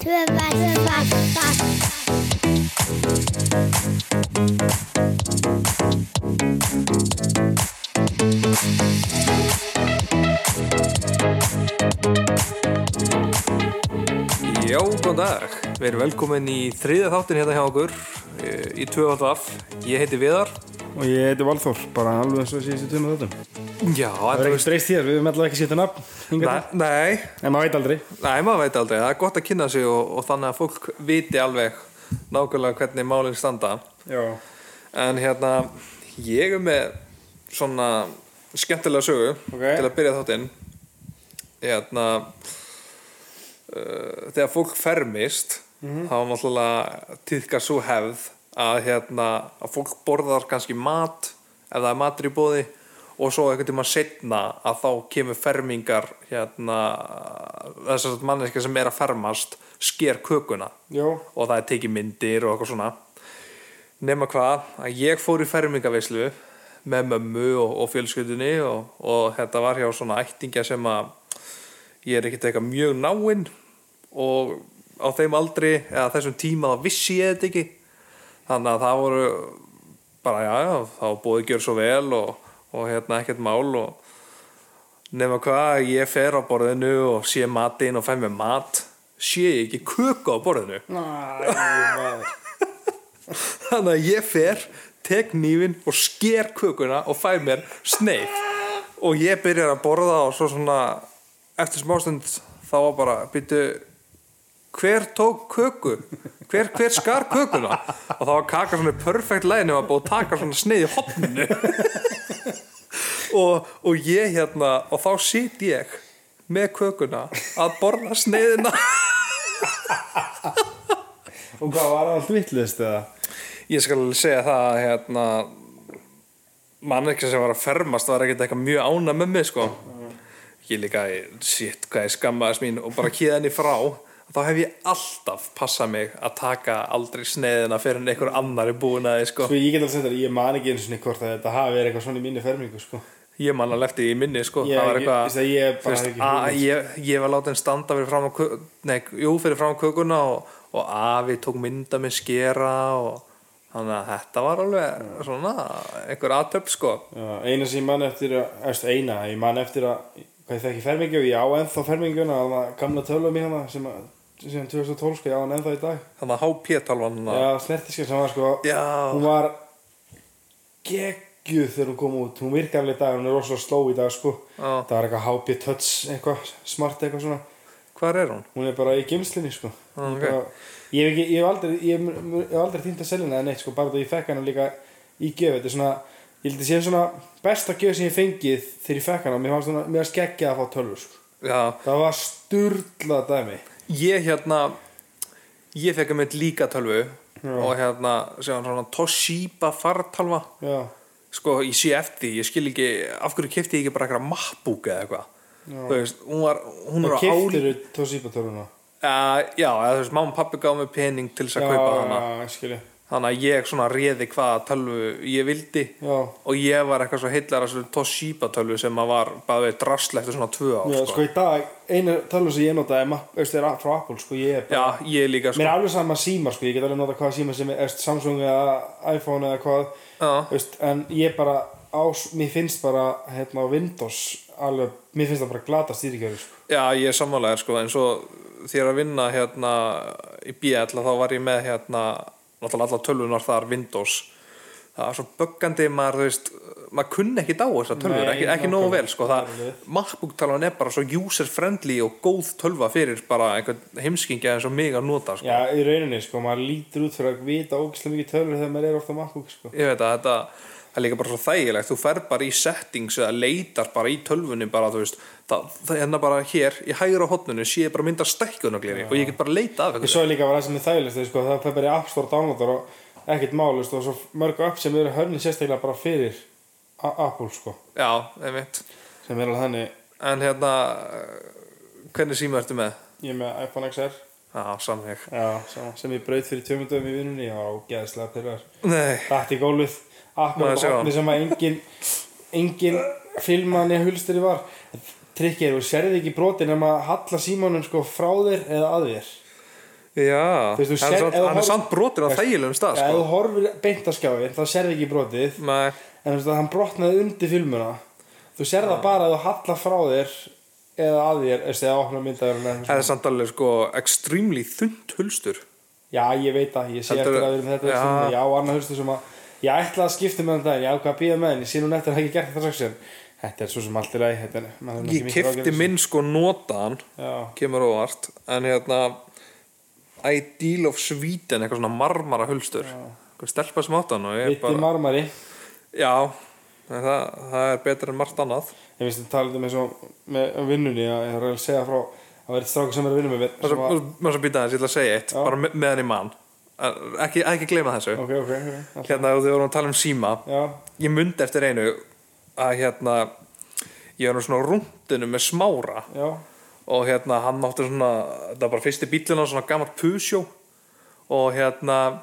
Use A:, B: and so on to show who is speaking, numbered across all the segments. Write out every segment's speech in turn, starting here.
A: Töfar, töfar, töfar.
B: Já, góðan dag. Við erum velkomin í þriðja þáttin hérna hjá okkur eh, í 2.af. Ég heiti Viðar.
C: Og ég heiti Valþór, bara alveg eins og síðustu tveimur þáttum.
B: Já,
C: Það
B: þetta
C: er ekkert streyst hér, við höfum alltaf ekki setja nafn hingað til.
B: Nei, nei,
C: En maður veit aldrei.
B: nei, maður veit aldrei. Það er gott að kynna sig og, og þannig að fólk viti alveg nákvæmlega hvernig málinn standa.
C: Já.
B: En hérna, ég er með svona skemmtilega sögu
C: Ok.
B: til að byrja þáttinn. Hérna, uh, þegar fólk fermist, þá var náttúrulega týðka svo hefð að hérna, að fólk borðar kannski mat, ef það er matur í bóði, og svo einhvern tíma setna að þá kemur fermingar hérna, þessar manneska sem er að fermast sker kökuna
C: Já.
B: og það er tekið myndir og eitthvað svona nema hvað að ég fór í fermingaveislu með mömmu og, og fjölskyldunni og, og þetta var hjá svona ættingja sem að ég er ekkert eitthvað mjög náinn og á þeim aldri eða þessum tíma þá vissi ég þetta ekki þannig að það voru bara já, já þá var búið að gjöra svo vel og, og hérna ekkert mál og nema hvað ég fer á borðinu og sé matinn og fæ mér mat sé ég ekki köku á borðinu
C: Næ, maður.
B: Þannig að ég fer, tek nýfin og sker kökuna og fæ mér sneið og ég byrjar að borða og svo svona eftir smástund þá var bara býtu hver tók köku hver, hver skar kökuna og þá var kaka svona í perfect læni og búið að taka svona sneið í hopnu og, og ég hérna og þá sit ég með kökuna að borða sneiðina
C: Og hvað var allt vittlist eða?
B: Ég skal alveg segja það að hérna, mannekja sem var að fermast var ekkert eitthvað mjög ána með mig sko. Ég líka, shit, hvað ég skammaðist mín og bara kýða henni frá. Þá hef ég alltaf passað mig að taka aldrei sneiðina fyrir en einhver annar er búin að þið sko.
C: Sko ég get alveg þetta, ég man ekki eins og hvort að þetta hafi verið eitthvað svona í minni fermingu sko.
B: Ég man alveg eftir því í minni sko.
C: Ég-
B: það var
C: ég-
B: eitthvað,
C: veist það, ég bara
B: þú veist,
C: hef ekki
B: að-
C: hugmynd.
B: ég, ég var látið standa fyrir fram á, nei, jú, fyrir fram á kökuna og, og afi tók mynda með skera og þannig að þetta var alveg svona einhver aðtöp sko.
C: Já, Eina sem ég man eftir, að- eða þú veist, eina, ég man eftir að, hvað ég þekki fermingu, ég á ennþá ferminguna, það var gamla tölum í hana sem að, sem 2012 sko, ég á hann ennþá í dag.
B: Þannig að HP-talvan
C: Já, snertiskan sem var sko, hún
B: Já,
C: var geggjuð þegar hún kom út hún virkar alveg í dag, hún er rosalega sló í dag sko.
B: Já.
C: það var eitthvað HP Touch eitthvað, smart eitthvað svona
B: hvar er hún?
C: hún er bara í geimslinni sko.
B: Já,
C: Hún er
B: ok.
C: bara, ég, hef ekki, ég hef aldrei ég hef- ég hef aldrei týnt að selja hana eða neitt sko, bara því ég fekk hana líka í gjöf þetta er svona, ég held að sé svona besta gjöf sem ég fengið þegar ég fekk hana mér fannst svona, mér var skeggja að fá tölvu sko.
B: Já,
C: það var sturla dæmi
B: ég hérna ég fekk að mitt líka tölvu og hérna, segjum svona Toshiba fartalva
C: já,
B: sko, ég sé eftir, því, ég skil ekki af hverju kefti ég ekki bara eitthvað MacBook eða eitthvað þú veist, hún var hún var
C: það
B: á ári
C: kiftir Toshiba tölvuna
B: uh, já, eða þú veist, mamma og pappi gaf mér pening til þess að kaupa hana
C: já, skilji
B: þannig að ég svona réði hvaða tölvu ég vildi
C: Já.
B: og ég var eitthvað svo heillar að þessu Toshiba tölvu sem að var bara við drasl eftir svona tvö ár
C: Já, sko, í dag, einu tölun sem ég nota er, Mac- veistu, er frá Apple, sko, ég er bara,
B: Já, ég líka sko
C: mér er alveg sama síma, sko, ég get alveg nota hvaða síma sem er, veist, Samsung eða iPhone eða hvað,
B: Já.
C: veist, en ég bara, á, mér finnst bara, hérna, Windows, alveg, mér finnst það bara glata stýrikjöru, sko.
B: Já, ég er sammálaðir sko, en svo þér að vinna hérna í BL þá var ég með hérna náttúrulega allar tölunar þar Windows það var svo böggandi maður, þú veist maður kunni ekki dá þessar tölvur,
C: Nei,
B: ekki, ekki nógu vel
C: nákvæmlega.
B: sko, það, MacBook talan er bara svo user friendly og góð tölva fyrir bara einhvern heimskingja eins og mig að nota sko.
C: Já, í rauninni, sko, maður lítur út fyrir að vita ógislega mikið tölur þegar maður er ofta MacBook, sko.
B: ég veit að þetta það er líka bara svo þægilegt, þú fer bara í settings eða leitar bara í tölvunni bara, þú veist, það, það er bara hér í hægra hotnunni sé bara mynda stækkunagleri og ég get bara leita af
C: Ég
B: einhverju
C: svo er líka var það sem er þægilegt, þú veist, sko, það fer bara í App Store, Downloader og ekkert mál, þú veist, og svo mörg app sem eru hörni sérstaklega bara fyrir A- Apple, sko,
B: Já, einmitt
C: sem er alveg þannig
B: En hérna, hvernig síma ertu með?
C: Ég er með iPhone XR
B: Já, samveg
C: Já, sama. sem ég braut fyrir tjómyndum í vinnunni Já, geðslega pyrrar
B: Nei,
C: Datt í gólfið,
B: Má ég
C: akkurat
B: sjá?
C: bátni sem að engin engin filman eða hulstri var Tryggir, þú sérði ekki brotin nema að halla símanum sko frá þér eða að þér
B: Já,
C: Þú veist, þú
B: hann,
C: sér-
B: er samt,
C: ef þú
B: hann er
C: horfir-
B: samt brotur af þægilegum stað
C: ef þú
B: sko.
C: horfir beint að skjáin þá serði ekki brotið
B: Nei,
C: en þú veist að hann brotnaði undir filmuna þú sér það bara að þú hallar frá þér eða að þér, þú veist, eða opna myndaður
B: það er samt alveg sko extremely þund hulstur
C: já, ég veit það, ég sé
B: Þetta
C: eftir
B: er-
C: að við erum
B: Já.
C: þetta já, já annað hlustu sem að ég ætlaði að skipta með hann daginn, ég ákvað að býða með hann ég sé núna eftir að hafa ekki gert það strax en þetta er svo sem allt í lagi þetta er- maður
B: Ég
C: hefur ekki miklar
B: kefti
C: áhyggjur af
B: minn sko notaðan
C: þessu. já,
B: kemur óvart en hérna Ideal of Sweden, eitthvað svona marmara hulstur eitthvað stelpa sem átt hann og ég
C: viti
B: bara
C: marmari
B: Já, en það, það er betra en margt annað
C: ég veist að tala um eins og með um vinnunni að ég þarf að segja frá að vera strákur sem er að vinna með mér
B: Má
C: sem að-
B: svo býta þess, ég ætla að segja eitt
C: Já.
B: bara me- meðan í mann ekki, ekki gleyma þessu
C: ok, ok, ok allt-
B: Hérna, þegar við vorum að tala um síma
C: já,
B: Ég mundi eftir einu að hérna ég var nú svona á rúndinu með smára
C: já,
B: og hérna hann átti svona það var bara fyrsti bílun á svona gammalt pusjó og hérna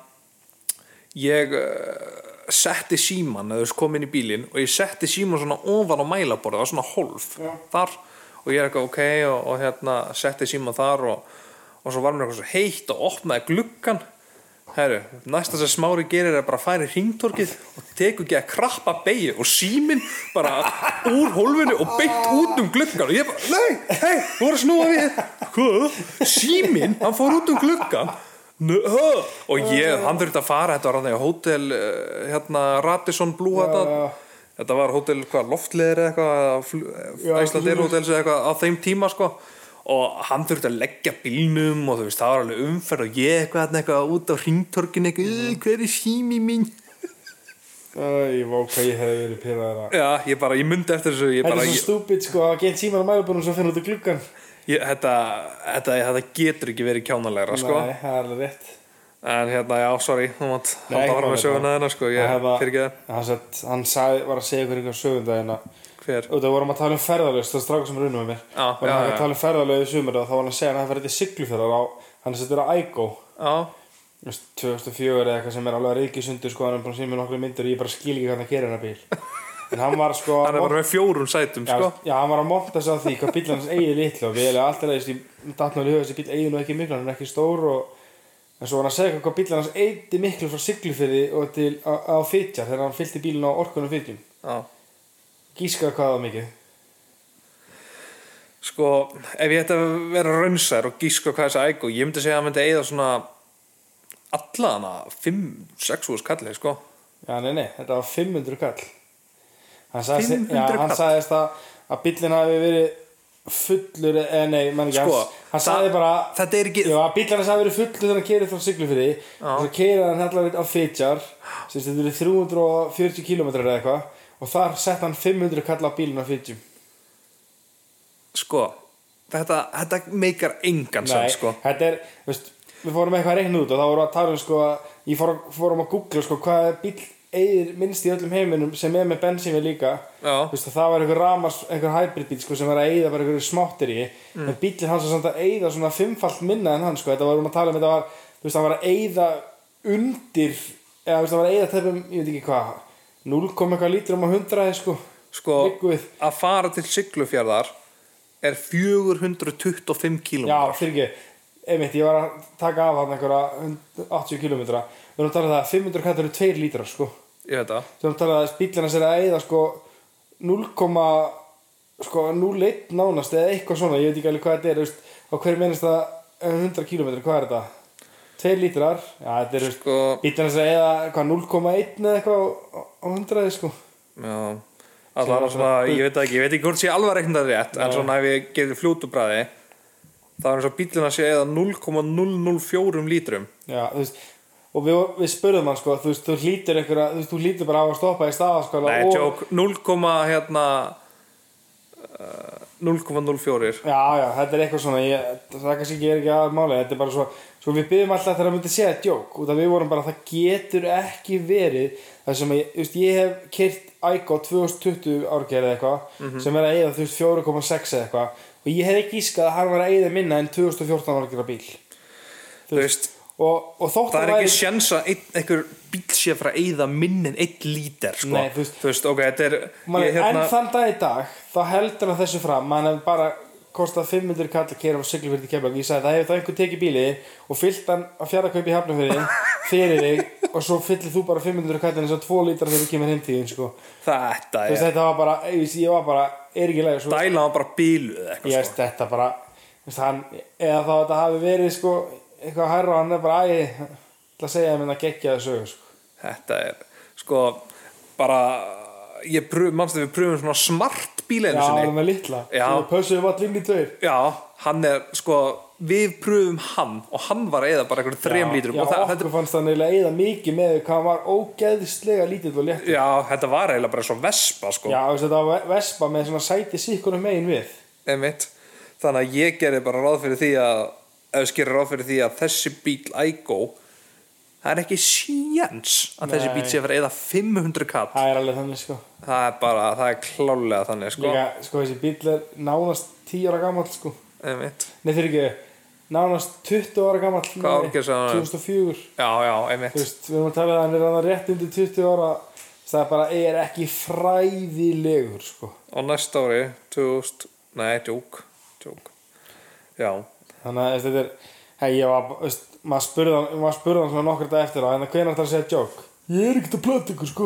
B: ég uh, setti síman eða þú veist kom inn í bílinn og ég setti síman svona ofan á mælaborð það var svona hólf
C: Já.
B: þar og ég er eitthvað ok og, og hérna setti síman þar og, og svo var mér eitthvað svo heitt og opnaði gluggan Heru, næsta sem smári gerir er bara að færi hringtorkið og tekur ekki að krappa beigju og síminn bara úr hólfinu og beint út um gluggan og ég bara, nei, hei, þú voru að snúa við hvað, síminn, hann fór út um gluggan Nö, hö. og ég, hann þurfti að fara þetta var hann í hótel eh, hérna, Radisson Blue
C: Já,
B: þetta,
C: já.
B: þetta var hótel, hvað, loftleðir eða eitthvað,
C: Já,
B: eða Íslandir
C: eitthvað
B: hótels eða eitthvað á þeim tíma sko og hann þurfti að leggja bílnum og þú veist, það var alveg umferð og ég eitthvað, þarna eitthvað út á hringtorkin eitthvað,
C: Mhm.
B: mm. hver er sími mín
C: Æ, ég vá hvað ég hefði verið pyrraður að
B: já, ég bara, ég myndi eftir þessu ég
C: Þetta
B: bara,
C: er svo
B: ég,
C: stúpid sko að geta síman á mælubunum svo finna út í gluggan
B: ég, þetta, þetta, þetta getur ekki verið kjánalegra sko
C: Nei, það er alveg rétt
B: en hérna, já, sorry, þú mátt
C: Nei,
B: halda að fara
C: málið
B: með söguna
C: bara.
B: þennan sko,
C: Það
B: ég
C: hefða-
B: fyrir ekki það
C: Hann, satt, hann sagði, var að segja ykkur ykkur sögundaginn að
B: hver,
C: Það vorum að tala um ferðalöð, það strákur sem runum með mér
B: Já,
C: Var
B: já,
C: hann
B: já.
C: að tala um ferðalöð í sumur og þá var hann að segja að hann ferði til Siglufjörðar á Hann settur á Ægó
B: já,
C: þú veist, 2004 eða eitthvað sem er alveg að ríkisundur sko Hann er búin að segja mér nokkru myndir og ég bara skil ekki hvað það gerir hennar bíl En hann var sko
B: hann er bara með fjórum sætum
C: Já,
B: sko
C: já, hann var að monta sig á því hvað bíl hans eigið litla og við erum alltaf leiðist í datnáli huga þessi bíl eigið nú ekki miklu, hann er ekki stór og en svo var hann að segja eitthvað hvað bíl hans eigið miklu frá Siglufyrði og til á, á Fitjar þegar hann fyllti bílinn á orkunum Fitjum
B: já.
C: Gíska hvað það var mikið
B: sko, ef ég ætti að vera raunsær og gíska hvað þessi ægú, ég myndi segja að hann myndi eigða svona allana 5-6 hús kalli, sko
C: Já, nei, nei, þetta var 500 kall Hann sagðist,
B: 500
C: já, hann
B: kall?
C: sagðist að, að bílinn hafi verið fullur eða nei, mann ekki,
B: Sko,
C: hann, hann
B: það-
C: sagði bara
B: þetta er ekki-
C: Já, bílarna sagði verið fullur þegar hann kerið frá Siglufyrði og svo kerið hann allar veit á Fitjar sem þetta eru 340 km eða eitthvað og þar sett hann 500 kalla bílinn á Fitjum
B: sko, þetta, þetta meikar engan sem,
C: Nei,
B: sko
C: þetta er, veist, við fórum eitthvað að reikna út og þá vorum við að tala um sko að ég fór, fórum að googla sko hvað bíl eigir minnst í öllum heiminum sem er með bensín við líka
B: Já.
C: veist, að það var einhver ramars, einhver hybridbíl sko sem var að eigða bara einhverju smáttir í
B: Mm.
C: en bílinn hans var samt að eigða svona fimmfalt minna en hann sko, þetta vorum að tala um þetta var, þú veist, hann var að eigða undir eða þú veist, hann var að eigða tefum, ég veit ekki hvað 0, eitthvað lítrum á 100 sko,
B: sko,
C: Liggur við.
B: að fara til Siglufjörðar er 425 kílum
C: Já, fyrir ekki, einmitt, ég var að taka af hann einhverja 80 km Við erum að tala um það að 500 kallar eru 2 lítrar sko Við
B: ég veit það,
C: erum að tala um það að bílina sér að eyða sko 0, sko 0,1 nánast eða eitthvað svona, ég veit ekki alveg hvað þetta er þú veist, á hverju mennist það 100 km, hvað er þetta? 2 lítrar, já þetta er sko,
B: Sko-
C: bílina sér að eyða hvað 0,1 eða eitthvað á, á 100 sko
B: já allan
C: Sem
B: svona,
C: var svona-
B: ég veit það ekki, ég veit ekki hvort sé alvar reiknað rétt en
C: Nei.
B: svona ef ég gerir fljótubræði það er eins og bílina sé eða 0,004 lítrum
C: Já, þú veist Og við, við spurðum hann sko, þú veist, þú hlýtur einhverja, þú veist, þú hlýtur bara á að stoppa í sko, stafaskóla
B: Nei,
C: og...
B: tjók, 0, hérna uh, 0,04
C: Já, já, þetta er eitthvað svona ég, það kannski ekki er ekki að máli þetta er bara svo, svo við byggjum alltaf þegar að myndi segja djók út af við vorum bara það getur ekki verið það sem ég, þú veist, ég hef keirt Aiko 2020 árgerð eða eitthvað
B: Mhm.
C: sem er að eigða þú veist 4,6 eða eitthvað og ég hef ekki ískað að hann var að eigða minna en 2014 árgerða bíl
B: Þú veist,
C: og, og þótt
B: það er
C: að
B: ekki
C: væri-
B: sjens að einn- einhver bíl sé að fara að eyða minn en eitt lítar sko.
C: Nei, þú veist-
B: ok, þetta er
C: Man,
B: ég, hérna,
C: En þann dag í dag þá heldur hann þessu fram mann hefur bara kostað 500 kall að kera á siglufyrði keflag ég sagði það hefur það einhver tekið bíli og fyllt hann að fjara kaupi hafnafyrði fyrir þig og svo fyllir þú bara 500 kall eins og 2 lítra þegar þú kemur heim til þín sko.
B: Þetta
C: Þú veist,
B: er,
C: þetta var bara, ég, veist, ég var bara er ekki leið svo,
B: dæla hann bara bíluð eða
C: ég
B: eitthvað sko.
C: veist þetta bara þú veist, hann, eða þá þetta hafi verið sko, eitthvað hærra hann er bara æ, ég ætla að segja þeim en það geggja þessu sko.
B: Þetta er, sko, bara ég pröf, mannstu við pröfum svona smart bíl
C: já,
B: einu
C: það
B: sinni
C: með litla
B: Já.
C: Svo pössuðum allir inn í tveir
B: Já, hann er, sko við pröfum hann og hann var eða bara einhverjum þrem lítrum
C: já,
B: og það,
C: okkur
B: þetta,
C: fannst það eiginlega eða mikið með hvað hann var ógeðslega lítill og létt já,
B: já, þetta var eiginlega bara svo vespa, sko
C: þú veist, þetta var vespa með svona sæti síkkunum megin við
B: einmitt. þannig að ég gerði bara ráð fyrir því að ef skýra ráð fyrir því að þessi bíl Igo það er ekki síjans að þessi
C: Nei.
B: bíl sé að vera eða 500 katt
C: það er alveg þannig sko,
B: það er bara, það er klálega þannig sko,
C: líka, sko þessi bíl er nánast 10 ára gamall sko
B: einmitt
C: Nei, fyrir ekki Nánast 20 ára gammal
B: Hvað ár gerðist hann?
C: 2004
B: já, já,
C: Þú
B: einmitt
C: veist, við erum að tala um að hann er hann rétt undir 20 ára Það er bara er ekki fræðilegur sko.
B: og næsta ári, 2000 nei, djók, djók já,
C: Þannig að þú veist, þetta er hei, ég var, þú veist, maður spurði hann maður spurði hann svona nokkur dag eftir á en hvenær það að segja joke Ég er ekkert að plöta ykkur sko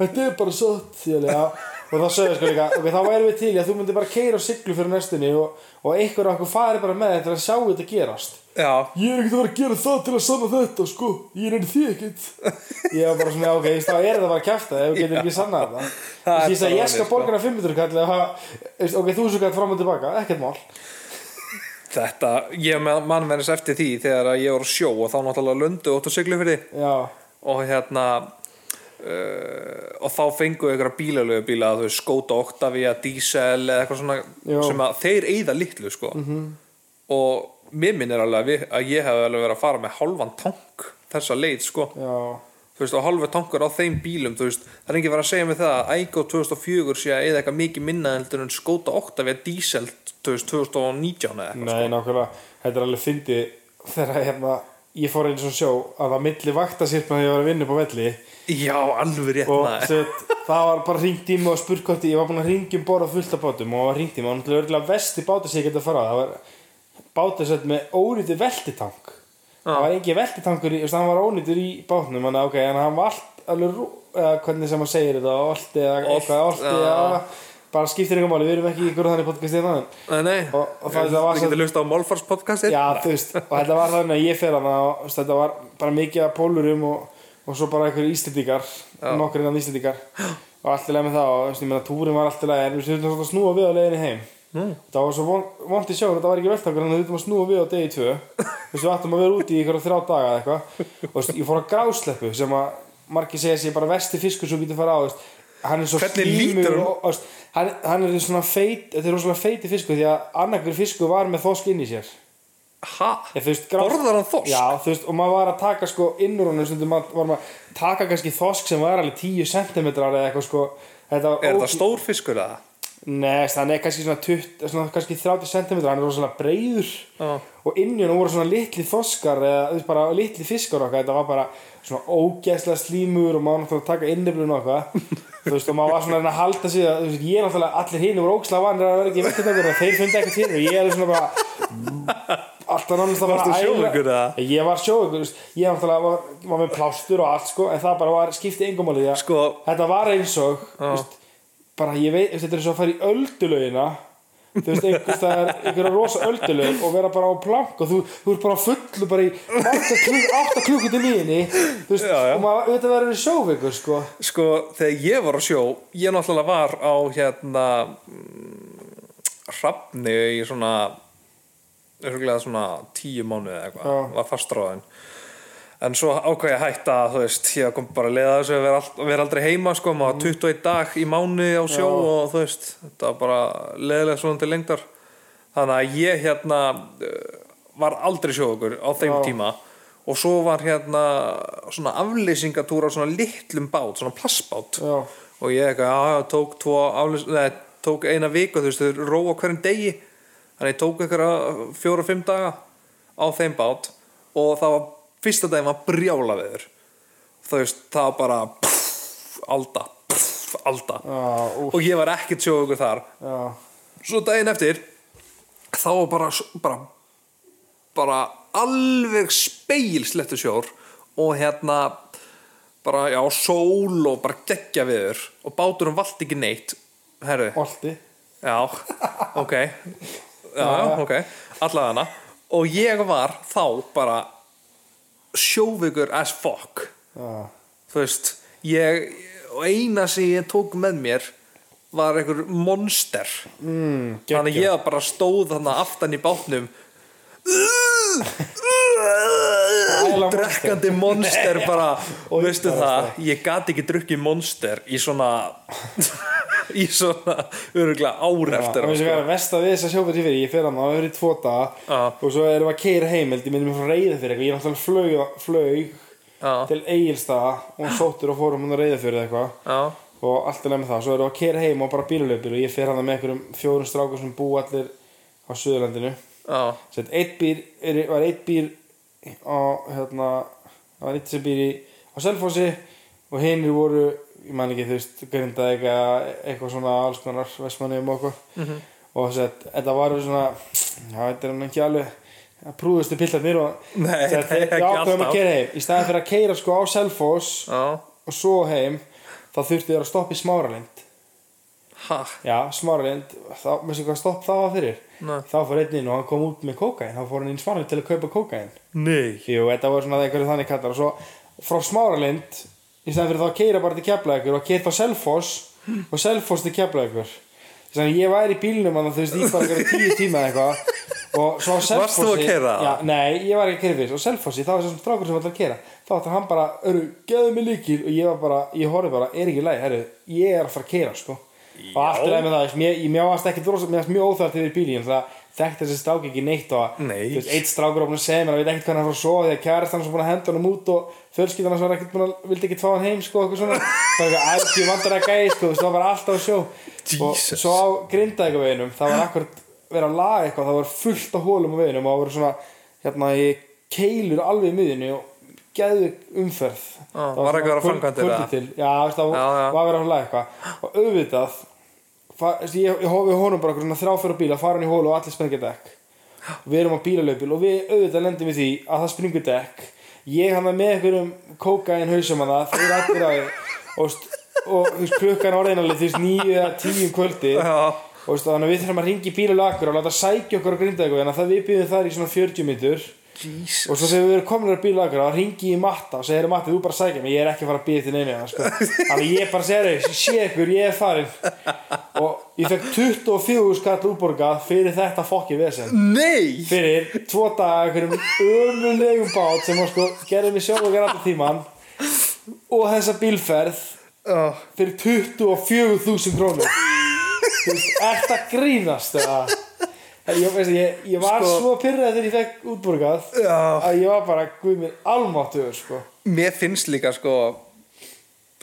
C: Þetta er bara satt ég, alveg, já. Og þá sögðu sko líka, ok, þá væri við til í að þú myndir bara keira og siglu fyrir næstunni og, og einhver okkur fari bara með þetta til að sjá þetta gerast
B: já,
C: Ég er ekkert að vera að gera það til að sanna þetta sko Ég er því ekkert Ég var bara svona, ok, ég veist, þá er það bara að kæfta Ef við getum ekki sanna þetta Þú
B: Það er
C: veist, Ég sagði,
B: bara
C: ég
B: þannig,
C: skal
B: sko.
C: borga hana 500 kall eða hafa- þú veist, Ok, þú svo kall fram og tilbaka, ekkert mál
B: þetta ég mann verðis eftir því þegar að ég voru á sjó og þá náttúrulega lundu út og siglu fyrir
C: Já,
B: og hérna uh, og þá fengu ykkur bílalögu bíla þau skóta Octavia, Diesel eða eitthvað svona
C: Já.
B: sem að þeir eyða litlu sko -hmm. og mér minnir alveg að, við, að ég hef alveg verið að fara með hálfan tank þessa leið sko
C: já,
B: þú veist og hálfa tankur á þeim bílum þú veist það er enginn verið að segja mig það að Igo 2004 sé að eyða eitthvað mikið minna heldur en skóta Octavia Diesel þú veist 2019 eða eitthvað
C: nei, nákvæmlega Þetta er alveg fyndi þegar hérna Ég fór einu svona sjó að það milli vaktasýrna þegar ég var að vinna upp á velli
B: sko. já alveg rétt
C: og
B: maður.
C: set, það var bara ringt í mig og spurt hvort ég var búin að ringa um borð á fullt af bátum og það var ringt í mig og náttúrulega örgulega vesti bátur sem ég geti að fara á. það var bátur sett með ónýtið veltitang það var engin veltitangur í, þú veist, hann var ónýtur í bátnum en, okay, en hann var allt alveg rú, eða, hvernig sem hann segir þetta allt eða
B: Olt,
C: eitthvað allt
B: já.
C: eða bara skiptir einhver máli, við erum ekki í hérna. hverju þannig podcastið þannig
B: nei, nei.
C: og- og það- það var
B: Þið
C: svo-
B: getið hlustað á Málfars podcastir
C: Já, þú veist, og þetta var þannig að ég fer hana og þú veist, þetta var bara mikið af pólurum og, og svo bara einhverjir íslendingar nokkur innan íslendingar og allt í lagi með það og þú veist, ég meina túrin var allt í lagi en við þurfum svona að snúa við á leiðinni heim mm. það var svo von- vont í sjónu, þetta var ekki veltangur þannig að við þurfum að snúa við á degi tvö þú veist, við ættum að vera úti í einhverja þrjá daga eða eitthvað og þú veist, ég fór að grásleppu sem að margir segja sér bara vesti fiskur sem býtur fara á, þú veist, hann er svo
B: Hvernig
C: slímur
B: lítur hann?
C: og, og, þú veist, hann, hann er svona feit, þetta er rosalega feiti fiskur því að annarkur fiskur var með þosk inn í sér
B: ha?
C: Ég, þú veist, grá...
B: borðar hann þosk?
C: Já, þú veist, og maður var að taka sko innur honum stundum maður var maður að taka kannski þosk sem var alveg 10 cm eða eitthvað sko Þetta var
B: Er þetta
C: ógeð-
B: stór fiskur eða?
C: Nei, þannig er kannski svona, 20, svona kannski 30 cm, hann er rosalega breiður
B: Já.
C: og inni hann voru svona litli þoskar eða þú veist, bara litli fiskar okkar þetta var bara svona ógæslega slímur og maður náttúrulega að taka inniflun okkar þú veist, og maður var svona að reyna að halda sig að, þú veist, ég náttúrulega, allir hinn voru ógæslega vanir að vera ekki vekkutakur og þeir fundi ekki til og ég er svona bara alltaf nánast að
B: Varstu
C: bara æla-
B: sjóveikur eða?
C: Ég var sjóveikur, þú veist, ég náttúrulega var, var með plástur og allt sko, en það bara var skipti engum alveg
B: Sko,
C: þetta var eins og þú veist, bara ég veit, þetta er svo að fara í öldulögina þú veist, einhvers það er einhverja rosa öldulög og vera bara á plank og þú, þú ert bara á fullu bara í marga klukk, átta klukkur til mínu þú veist,
B: Já, já.
C: og maður, þetta verður sjóveikur sko,
B: sko, þegar ég var á sjó ég náttúrulega var á hérna mm, hrafni í svona örgulega svona tíu mánuði eða eitthvað
C: Já.
B: var fastráðin en svo ákvað ég að hætta þú veist, ég kom bara að leiða þessu að vera, all, vera aldrei heima sko, maður var 21 dag í mánuði á sjó
C: Mm. Já.
B: og þú veist, þetta var bara leiðilega svona til lengdar þannig að ég hérna eh, var aldrei sjóðugur á þeim
C: Já.
B: tíma og svo var hérna svona aflýsingatúr á svona litlum bát, svona plassbát
C: Já.
B: og ég eitthvað, já, já, tók tvo aflýs, neð, tók eina viku, þú veist, þau róa hverjum degi þannig ég tók einhverja fjóra-fimm daga á þeim bát og það var, fyrsta daginn var brjála veður þú veist, það var bara pff, alda, pff, alda
C: já, úf,
B: og ég var ekkert sjóðugur þar
C: já
B: svo daginn eftir þá var bara, bara bara alveg speilslettu sjór og hérna bara, já, sól og bara geggja viður og báturum vald ekki neitt herru,
C: Olti
B: já, ok já, já, ok, allavega og ég var þá bara sjóvigur as fuck
C: Já,
B: þú veist, ég og eina sem ég tók með mér var einhver monster
C: mm,
B: þannig að
C: geggjað.
B: ég bara stóð þannig aftan í bátnum
C: Monster.
B: drekkandi monster bara,
C: Og
B: veistu
C: bara
B: það ég gat ekki drukkið monster í svona í svona öruglega ár
C: Já,
B: eftir á,
C: og eins og
B: sko.
C: verða vest að við þess að sjófætt ég fyrir ég fer hann og verið tvo daga
B: Já.
C: og svo erum við að keira heimild ég myndi mér frá reyða fyrir eitthvað ég er náttúrulega flög, flög
B: Já.
C: til Egilstaða og hann sóttur og um fórum hann að reyða fyrir eitthvað
B: já,
C: og allt er nefn það svo erum við að keira heim og bara bílulöpil og ég fer hann með einhverjum fjórum strákur sem bú allir á Suðurlandinu
B: já,
C: Sett, eitt býr, er, var eitt býr á, hérna, það var eitt sem býr í, á Selfossi og hinnir voru, ég man ekki, þú veist, grindað eitthvað, eitthvað svona alls konar vestmannum og okkur.
B: Mhm.
C: -hmm. Og sett, þetta var svona, já, þetta er hann ekki alveg, það prúðustu pillarnir og
B: Nei,
C: sett,
B: nei,
C: þeir-
B: ekki
C: við ákveðum
B: alltaf.
C: að keira heim. Í staðið fyrir að keira sko á Selfoss
B: já
C: og svo heim, þá þurftu þér að stoppa í Smáralind.
B: ha,
C: Já, Smáralind, þá, með sem hvað stopp það var fyrir
B: Nei.
C: Þá fór einn inn og hann kom út með kókain Þá fór hann inn í Smáralind til að kaupa kókain
B: nei
C: Jú, þetta var svona einhverju þannig kallar Og svo frá Smáralind Í stæðan fyrir þá að keira bara til Keflavíkur Og keira þá Selfoss Og Selfoss til Keflavíkur Þannig að ég væri í bílnum Þannig þú veist, ég var einhverju tíu tíma eða eitthvað Og svo á Selfossi
B: Varst þú að keyra?
C: Já, nei, ég var ekki að keira fyrir Og Selfossi, þá var þessum strákur sem var alltaf að keira Þá ætti hann bara, öru, geðu mig líkil Og ég var bara, ég horfði bara, er ekki læg Herru, ég er að fara að keira, sko Og allt er leið með það, veist, mér, ég mjáast ekki drosa, mér varst mjög óþært yfir bílíum Það þekkti þessi strák ekki neitt og
B: Nei.
C: þú veist, eitt strákur opnur að segja mér hann veit ekkert hvað hann er að sofa því að kærast hann er búin að henda hann út og fjölskyldan hans var ekkert búin að vildi ekkert fá hann heim sko eitthvað svona bara eitthvað ætti vandar að gæði sko þú veist, það var alltaf að sjó
B: Jesus.
C: og svo á grindækaveginum það var akkurat verið að laga eitthvað það var fullt af hólum á veginum og það voru svona hérna í keilur alveg í miðinu og geðu umferð
B: Ah,
C: Það
B: var eitthvað að
C: svona
B: framkvæmdir
C: kvöldið
B: eða?
C: til já, þú veist, það
B: Já, já.
C: var var verið að hlaða eitthvað og auðvitað fa- þú veist, ég, ég hófi honum bara eitthvað þráfæra bíla, fara hann í hólu og allir sprengja dekk við erum á bílalöpil og við auðvitað lendum við því að það springur dekk ég hann með einhverjum kókain hausum hann það þeir allir að og, veist, og þú veist, klukkan orðinalið þú veist níu eða tíu um kvöldi
B: Já.
C: og veist, þannig að við þurfum að ringi bílalakur og láta sækja okkur á grinda eitthvað þannig að það við býðum þar í svona 40 minnur
B: Jesus.
C: og svo þegar við erum komin að bíla okkur þá ringi ég í matta og segir matta þú bara sækja mig ég er ekki að fara að bíða til neina sko. þannig ég bara segir þau sé ykkur ég er farin og ég fekk 24 skall útborgað fyrir þetta fokki vesen
B: nei
C: fyrir tvo daga einhverjum ömulegum bát sem var sko gerði mig sjálf og gerði alltaf tíman og þessa bílferð
B: Já.
C: fyrir 24.000 krónur Þú veist, ert að grínast eða? ég, veist, ég, ég var
B: Sko-
C: svo pyrrað þegar ég fekk útborgað
B: Já.
C: að ég var bara guð minn almáttugur sko.
B: mér finnst líka sko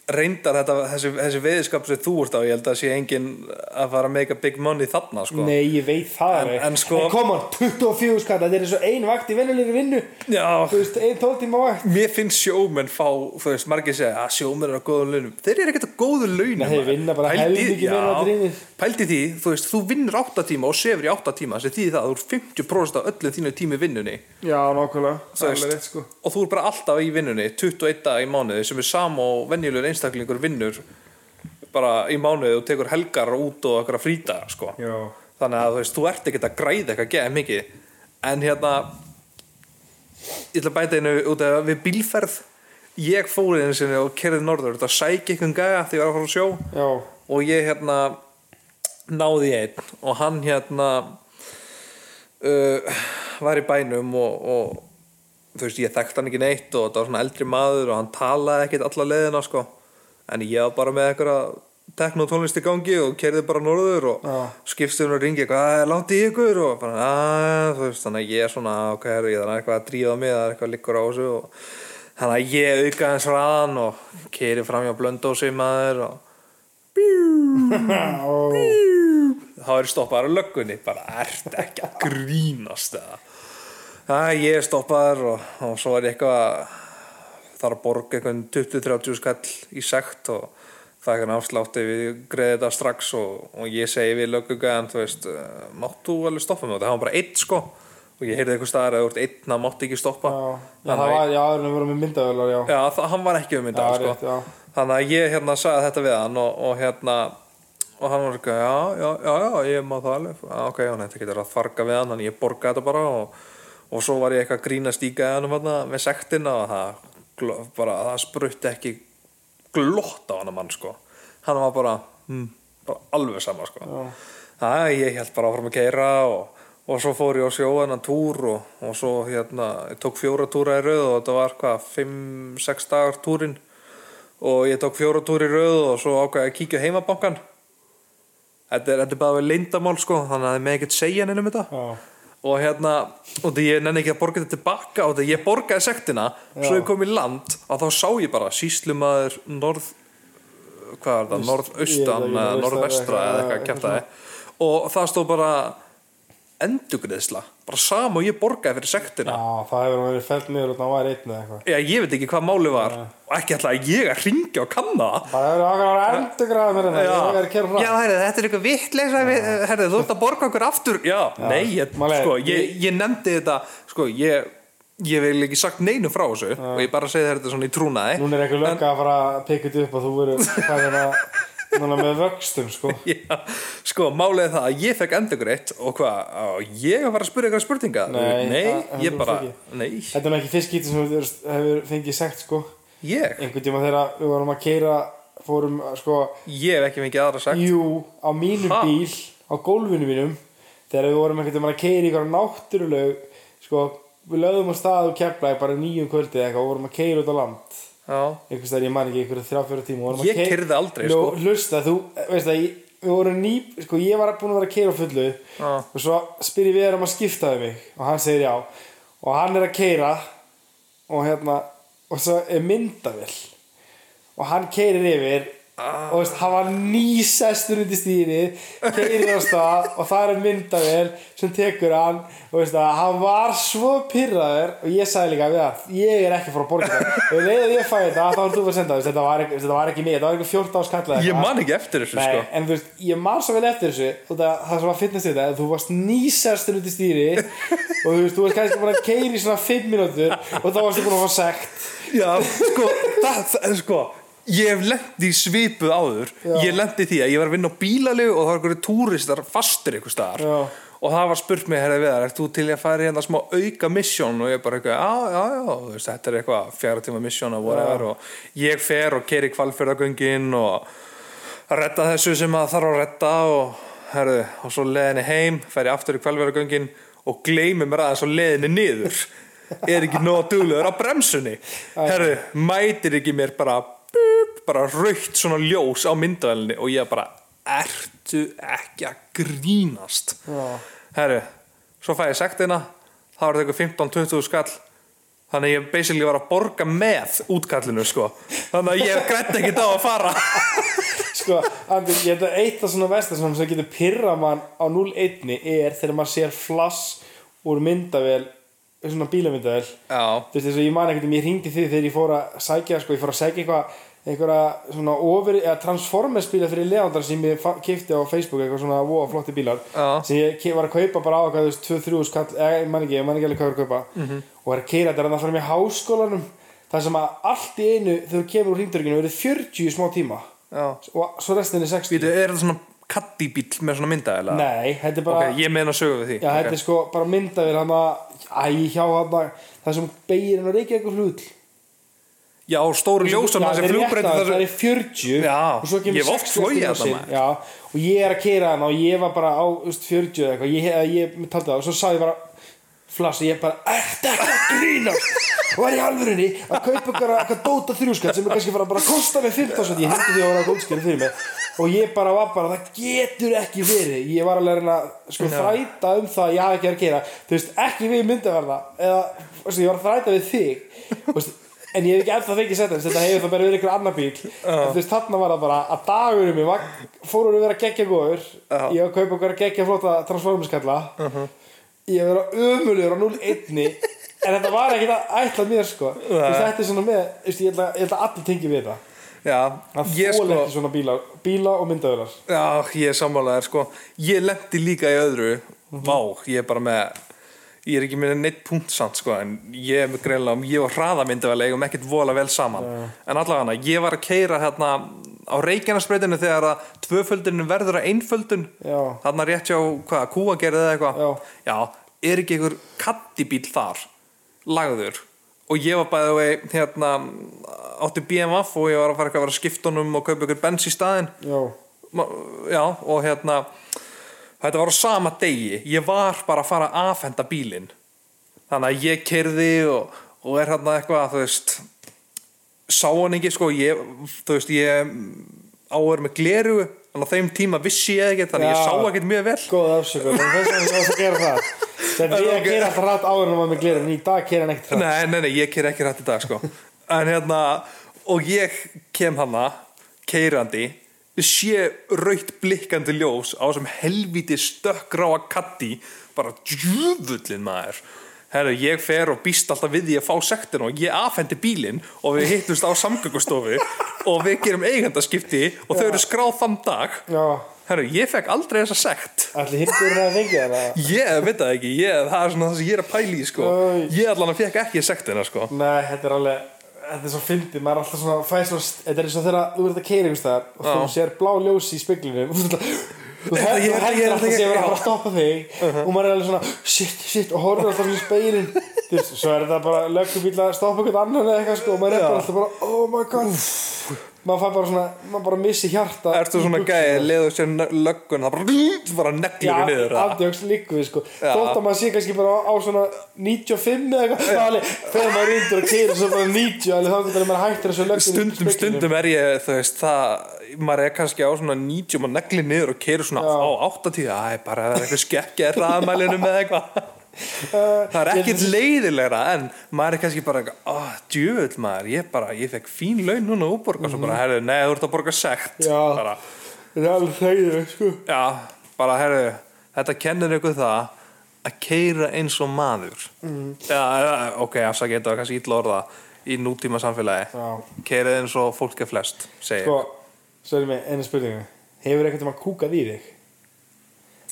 B: reyndar þetta, þessi, þessi veiðskap sem þú ert á, ég held að sé engin að fara að make a big money þarna sko.
C: nei ég veit það
B: En-
C: alveg.
B: en sko-
C: en koma 24 skatt sko, þetta er eins og ein vakt í venjulegri vinnu
B: Já,
C: þú veist ein 12 tíma vakt
B: mér finnst sjómenn fá, þú veist, margir segja að sjómenn eru á góðum launum, þeir eru ekkert á góðum launum
C: Nei, þeir vinna bara
B: Pældi-
C: helmingi meira en
B: já,
C: allir hinir.
B: Pældi því, þú veist, þú vinnur 8 tíma og sefur í 8 tíma, sem þýðir það að þú er 50% af öllu þínu tími vinnunni
C: já nokkulega
B: Þú veist, og þú er bara alltaf í vinnunni 21 dag í mánuði sem er sam og venjulegur einstaklingur vinnur bara í mánuði og tekur helgar út og okkur að frýta sko.
C: Já.
B: þannig að þú veist, þú ert ekkert að græða eitthvað geða mikið en hérna ég ætla að bæta einu út af við bílferð ég fór einu sinni og kerði norður þetta sæk einhvern gæja því ég var að fara að sjó
C: já
B: og ég hérna náði í einn og hann hérna uh, var í bænum og, og þú veist ég þekkti hann ekki neitt og þetta var svona eldri maður og hann talaði ekkit alla leiðina sko en ég var bara með einhverja tekno tónlist í gangi og kerði bara norður og
C: Já.
B: skipstunum og ringi eitthvað "Það er langt í ykkur og bara að þú veist þannig að ég er svona ok, herri, ég þarf eitthvað að drífa mig það er eitthvað liggur á þessu og þannig að ég auka hans ræðan og keri fram hjá blöndósi maður og
C: og
B: þá er stoppaður á löggunni bara ert ekki að grínast eða Æ, ég er stoppaður og, og svo er ég eitthvað að- þarf að borga einhvern 20-30 skall í sekt og það er hann afslátt ef við greiði þetta strax og, og ég segi við löggugæðan þú veist, eh, máttu alveg stoppa með þetta það var bara einn sko og ég heyrði eitthvað staðar að þú ert einn að máttu ekki stoppa
C: já, já,
B: Þannig
C: það
B: að-
C: var, já, það voru með myndavelar, já,
B: Já, það, hann var ekki um
C: Já,
B: þetta sko.
C: rétt, já.
B: Þannig að ég hérna sagði þetta við hann og, og hérna og hann var ekki, já, já, já, já ég má það alveg ah, ok, hann þetta getur að farga við hann en ég borga þetta bara og, og svo var ég eitthvað að grínast í gæðanum hérna með sektina og það, gl- bara, það sprutti ekki glott á hann mann sko hann var bara, hm, bara alveg sama sko
C: Já.
B: Það, ég held bara áfram að keira og, og svo fór ég á sjóðan að túr og, og svo hérna, ég tók fjóra túra í rauð og þetta var hvað, 5-6 dagar túrin og ég tók fjóra túra í rauð og svo ákvæði að kíkja á heimabankan Þetta er, þetta er bara við leyndamál sko, þannig að það er með ekkert segja neinum um þetta
C: já,
B: og hérna, og því ég nenni ekki að borga þetta tilbaka og því ég borgaði sektina svo
C: Já.
B: ég kom í land og þá sá ég bara síslumaður norð hvað er það,
C: ég veit
B: norðaustan
C: ekki,
B: eða norðvestra
C: norðaustan eða
B: eða
C: eitthvað,
B: eitthvað kjæftaði og það stóð bara endugriðsla, bara sama og ég borgaði fyrir sektina
C: já, það hefur verið fælt niður og það var einn eða eitthvað
B: Já, ég veit ekki hvað máli var og ekki ætlaði ég að ringja og kanna það
C: það hefur verið okkar endurgræða mér en
B: Já,
C: það er að kera
B: já
C: frá
B: herri, þetta er eitthvað vittleisa herri, þú ert að borga okkur aftur Já, nei, ég,
C: Málega,
B: sko, ég, ég nefndi þetta sko, ég, ég vil ekki sagt neinu frá þessu og ég bara segi þér þetta svona í trúnaði
C: núna er eitthvað lögga að fara að pikka þetta upp og þú verður fæðin að núna með vöxtum, sko
B: Já, sko, málið er það að ég fekk endurgreitt og hvað, á ég að fara að spyrja eitthvað spurninga
C: Nei, það-
B: ég
C: það
B: bara,
C: ekki.
B: nei,
C: þetta er nú ekki fyrst gítið sem hefur, hefur fengið sekt, sko
B: ég
C: einhvern tíma þegar við vorum að keira fórum, sko,
B: ég hef ekki mikið aðra sagt
C: Jú, á mínum
B: Ha?
C: bíl á gólfinu mínum þegar við vorum einhvern veginn að keira í einhverja náttúruleg sko, við lögðum á stað og keflaði bara nýjum kvöldið eitthvað og vorum að keira út á land
B: Já,
C: einhvers þar ég man ekki einhverja þrjá fjóra tíma og vorum að
B: Ég
C: keyra-
B: keyrði aldrei,
C: Ljó,
B: sko.
C: hlusta, þú, veist það, ég- við vorum ný sko, ég var búin að vera að keira á fullu
B: Já.
C: og svo spyr ég við erum að skiptaði mig og hann segir já og hann er að keira og hérna og svo er myndavill og hann keirir yfir og veist, hann var nýsestur undir stýri keirir á stað og það er myndavél sem tekur hann og veist að hann var svo pyrraður og ég sagði líka við að ég er ekki frá að borga þetta og leiðið ég fæði þetta þá var þú að senda veist, þetta, var, ekki- þetta var ekki mig, þetta var ekki 14 árs kallað
B: ég man ekki eftir þessu,
C: Nei,
B: sko
C: en þú veist, ég man svo vel eftir þessu og það, það sem var fitness þetta, þú varst nýsastur út í stýri og þú veist, þú varst kannski búin að keiri í svona 5 mínútur og þá varst þú búin að fá sekt
B: Já, sko, það, það, sko Ég hef lent í svipu áður
C: Já.
B: Ég lent í því að ég var að vinna á bílalegu og það var einhverju túristar fastur einhver staðar
C: Já.
B: og það var spurt mig, herri Viðar, ert þú til í að fara í hérna smá auka misjón og ég bara eitthvað, já, já, já, þú veist, þetta er eitthvað fjara tíma misjón og whatever og ég fer og keri kvalfjörðagöngin og retta þessu sem að þarf að retta og, herri, og svo leðinni heim, fer ég aftur í kvalfjörðagöngin og gleymi mér aðeins á leðinni niður er ekki nóg duglegur á bremsunni herri, mætir ekki mér bara búp, bara raukt svona ljós á myndavælni og ég bara ertu ekki að grínast
C: Já.
B: herri, svo fæ ég sektina þá er þetta eitthvað 15-20 skall þannig ég basically var að borga með útkallinu sko þannig að ég grætti ekki þá að fara
C: Sko, Andi, ég held að eitt af svona vestar sem sem getur pyrra mann á 0-1 er þegar maður sér flass úr myndavél, svona bílamyndavél þú
B: já,
C: veist eins og ég man ekkert um ég hringdi því þegar ég fór að sækja sko, ég fór að sækja eitthvað einhverja svona over, eða Transformers bíla fyrir leðandar sem ég fa- keypti á Facebook eitthvað svona voða flotti bílar
B: Já.
C: sem ég ke- var að kaupa bara á eitthvað þú veist 2-3 skall, eða ég man ekki, ég man ekki alveg hvað ég var að kaupa
B: Mhm.
C: -hmm. og er að keira þetta er að það fara með háskólanum þar sem að allt í einu þegar þú kemur úr hringdörginu verið 40 smá tíma
B: já
C: og svo restin er 60
B: Býtu, er þetta svona kattibíl með svona myndaðilega?
C: Nei, þetta er bara
B: Ok, ég meina sögu við því
C: Já, þetta er sko bara myndavél hann að Æ, hjá hann að Það sem beigir hann að reykja eitthvað hlut
B: Já, stóru ljósan þessi flugbreyta
C: Það
B: þessu
C: er 40
B: Já,
C: og svo kemur
B: ég hef oft
C: 60
B: flogið
C: eftir
B: þarna,
C: ljósin.
B: maður.
C: Já, og ég er að keira hann og ég var bara á þú veist, 40 eða eitthvað Ég, eða ég taldi það og svo sagði ég bara Flass, ég bara, ertu ekki að grína og var í alvörunni að kaupa ykkur eitthvað dóta þrjúskatt sem er kannski bara, bara að kosta mig 15 svo ég hindi því að vera að góðskjöru fyrir mig og ég bara var bara, það getur ekki verið ég var alveg að reyna að sko, þræta um það að ég hafi ekki verið að gera þú veist, ekki við myndaverða eða, þú veist, ég var að þræta við þig þú veist, en ég hef ekki ennþá fengið setja þetta hefur það bara verið ykkur annar bíl en þú veist, þarna var það bara að dagurum minn var, fórum að vera geggja góður
B: Já. Uh-huh.
C: ég var að kaupa ykkur geggja flóta transformerskalla ég hef verið ömulugur á 0-1 en þetta var ekkert að ætla mér sko Þú veist, þetta er svona með þú veist, ég ætla, ég ætla að allir tengi við þetta
B: Já,
C: Það
B: ég
C: fóla
B: sko
C: ekki svona bíla, bíla og myndavelar
B: Já, ég er sammálaðar sko Ég lendi líka í öðru Vá, ég er bara með Ég er ekki með neitt punkt samt sko En ég er með greinlega, ég var hraðamyndavel Ég um ekkert vola vel saman En allavega, ég var að keira hérna Á Reykjanasbreytinu þegar að Tvöföldinu verður að einföldun
C: Já.
B: Þarna rétt hjá, hvað, kúagerið eða eitthvað
C: Já.
B: er ekki einhver kattibíl þar Lagður Og ég var bæði vei, hérna Átti BMF og ég var að fara eitthvað að vera að skipta honum Og kaupa ykkur bens í staðinn
C: Já,
B: Ma- já, og hérna þetta var á sama degi ég var bara að fara að afhenda bílinn þannig að ég kerði og, og er hérna eitthvað þú veist sá hann ekki sko ég, þú veist ég áður með gleru þannig að á þeim tíma vissi ég ekkert þannig að ég
C: Já. sko,
B: sá ekkert mjög vel
C: góð afsökun En þess að það að gera það Þegar við
B: Ok.
C: að gera alltaf rætt áður en maður með glerum En í dag gera hann ekkert rætt
B: Nei, nei, nei, ég keir ekki rætt í dag sko En hérna, og ég kem hana Keirandi Sé raukt blikkandi ljós Á sem helviti stökkráa katti Bara djöfullin maður Herra, ég fer og býst alltaf við því að fá sektin og ég afhendi bílinn og við hittumst á samgöngustofu og við gerum eigandaskipti og þau eru skráð þann dag
C: Já,
B: Herra, ég fekk aldrei þessa sekt
C: allir hittur að fengja það
B: Ég veit það ekki, ég, það er svona það sem ég er að pæla í sko.
C: Æ.
B: Ég allan að fekk ekki sektina sko.
C: Nei, þetta er alveg Þetta er svo fyndið, maður er alltaf svona fæ svona, Þetta er eins og þegar þú ert að keira einhvers staðar og þú
B: Já.
C: sér blá ljós í speglinu Þú heldur þú
B: Ég- ég-
C: heldur
B: ég-
C: alltaf
B: ég-
C: sem er
B: já.
C: að
B: Uh-huh.
C: fara að stoppa þig og maður er alveg svona shit, shit og horfir alltaf í speilin Svo er þetta bara löggubíl að stoppa einhvern annan eða eitthvað sko og maður er bara alltaf bara oh my god maður fær bara svona, maður bara missi hjarta
B: Ertu
C: í
B: svona
C: buxurnar.
B: gæði, leiðu sér nö- löggun Það bara, bara neglir við niður
C: Já,
B: eða?
C: andjóks líku við sko
B: Já.
C: Þótt að maður sé kannski bara á, á svona 95 eða eitthvað Það er alveg, Þegar maður er undir og keyrir svo bara 90 alveg, Þá getur maður hættur þessu lögn
B: Stundum, stundum er ég, þú veist það, maður er kannski á svona 90 og neglir niður og keirur svona
C: Já.
B: á 80 Æ, bara það er eitthvað skekkja raðmælinu með eitthvað
C: Eh,
B: Það er ekkert leiðilegra en maður er kannski bara eitthvað, oh, djöfull maður, ég bara, ég fekk fín laun núna og borga svo bara, herðu, nei, þú ert að borga sekt
C: Mhm. Já.
B: bara,
C: Það er alveg þegið sko
B: já, bara, herðu, þetta kennir ykkur það að keira eins og maður
C: Mhm.
B: mm. já, já, ok, afsakið, þetta var kannski illa orða í nútíma samfélagi
C: Já.
B: keirið eins og fólk er flest segir,
C: Sko, svo erum við einu spurningu Hefur ekkert um að kúkað í þig?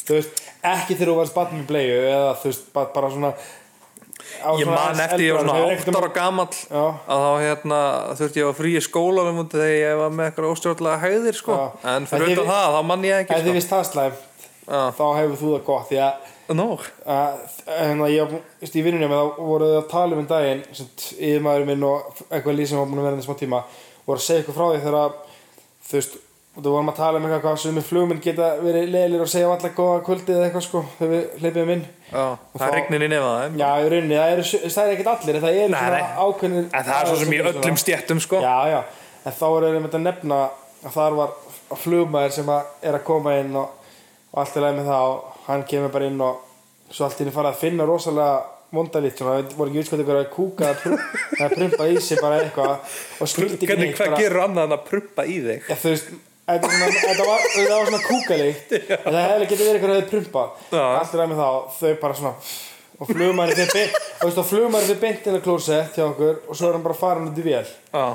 C: Þú veist, ekki þegar þú varst batn með bleiðu Eða þú veist, ba- bara svona á
B: ég
C: svona
B: man
C: aðeins
B: eftir ég var svona
C: eldra, hefur ekkert um
B: 8 ára gamall
C: Já.
B: að þá hérna þurfti ég að frí í skóla þegar ég var með eitthvað óstjórnlega hæðir sko.
C: Já.
B: en
C: En
B: fyrir
C: þið-
B: utan það, þá mann ég
C: Ef þið
B: ekki sko.
C: vist það slæmt
B: Já.
C: Þá hefur þú það gott Því að
B: sko. nóg
C: að hérna, ég, var bú- þú veist, í vinnunni með þá voru þau að tala um en daginn sem yfirmaðurinn minn og eitthvað lýsum var búin að vera þessum tíma voru að segja eitthvað frá því þegar að, þú veist, þú vorum að tala um eitthvað hvað sem við flugminn geta verið leiðilir og segja alltaf góða kvöldið eða eitthvað sko þegar við hleypum inn
B: já. það
C: þá-
B: er regnir í nefa þeim
C: Já, í rauninni, það eru, það eru ekkert allir en það eru
B: Nei,
C: svona
B: nei.
C: ákveðnir
B: en það er svo sem í öllum stjættum sko.
C: Já, já, en þá voru þeir með að nefna að þar var flugmaður sem að er að koma inn og, og allt er leið með það og hann kemur bara inn og svo allt í henni farið að finna rosalega mondalít svona, það voru ekki utskvæmt ykkur að kúka eða pr- eða prumpa í sig bara eitthvað og skildi ekki
B: hvernig,
C: neitt
B: hvað
C: bara,
B: gerur annað en að prumpa í þig
C: ég, þú veist Þetta var, þetta var, þetta var svona kúkalíkt en það hefði getið verið eitthvað að þið prumpa
B: Já.
C: allt er að með þá, þau bara svona og flugmaður þeir beint og þú veist, og flugmaður þeir beint inn að klósett hjá okkur og svo er hann bara farin út í vél
B: Já.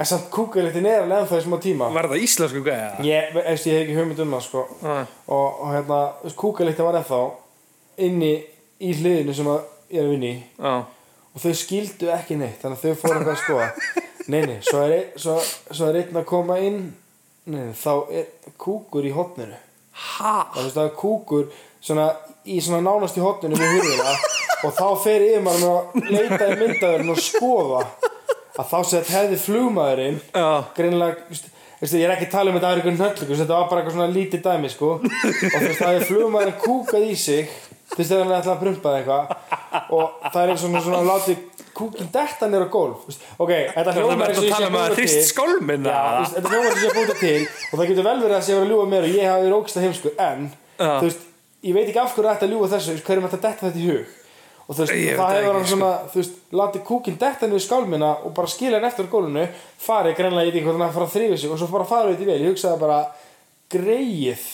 C: En samt kúkalíktin er alveg ennþá í smá tíma
B: var það íslensku gæja?
C: Ég, veist, ég hef ekki hugmynd um það sko
B: Nei.
C: og, og hérna, kúkalíktin var ennþá inni í hliðinu sem að ég er að vinna í
B: Já.
C: og þau skildu ekki neitt þannig að þau fóru eitthvað að skoða Nei, nei, svo er, ein- svo, svo er einn að koma inn nei, nei, þá er kúkur í hotninu
B: ha
C: það, þú veist, það er kúkur svona, í svona nánast í hotninu við hurðina og þá fer yfirmaðurinn að leita í myndaðurinn og skoða að þá sem þetta hefði flugmaðurinn
B: Já.
C: greinilega, þú veist, þú veist, ég er ekki að tala um þetta er einhvern nöllur, þetta var bara eitthvað svona lítið dæmi sko, og þú veist, það hefði flugmaðurinn kúkað í sig, þú veist, þegar hann ætlaði að prumpa eða eitthvað og það er eins og svona, svona látið kúkin detta nýra gólf, þú veist, ok, þetta
B: Það
C: hljómar
B: er
C: eins og
B: að
C: ég sé
B: tala
C: að
B: um að
C: búa til-
B: hrist skálminna
C: Já, þú veist, þetta hljómar sem ég búið til og það getur vel verið að sé að vera að ljúga mér og ég hafi verið ógsta heimskur en
B: Já.
C: þú veist, ég veit ekki af hverju ætti að ljúga þessu þú veist, hverjum ætti að detta þetta í hug og þú veist,
B: Ég veit
C: það
B: það ekki, sko.
C: hefur hann svona þú veist, látið kúkin detta niður skálmina og bara skilja hann eftir gólunu farið greinlega í því hvernig hann fara að þrýfa sig og svo bara farið þetta í vel, ég hugsaði bara greið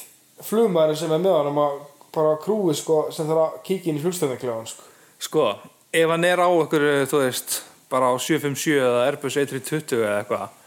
C: flugmaður sem er með honum að bara á krúi sko, sem þarf að kíkja inn í flugstöðnarklefan sko.
B: Sko, ef hann er á ykkur, þú veist, bara á 757 eða Airbus A320 eða eitthvað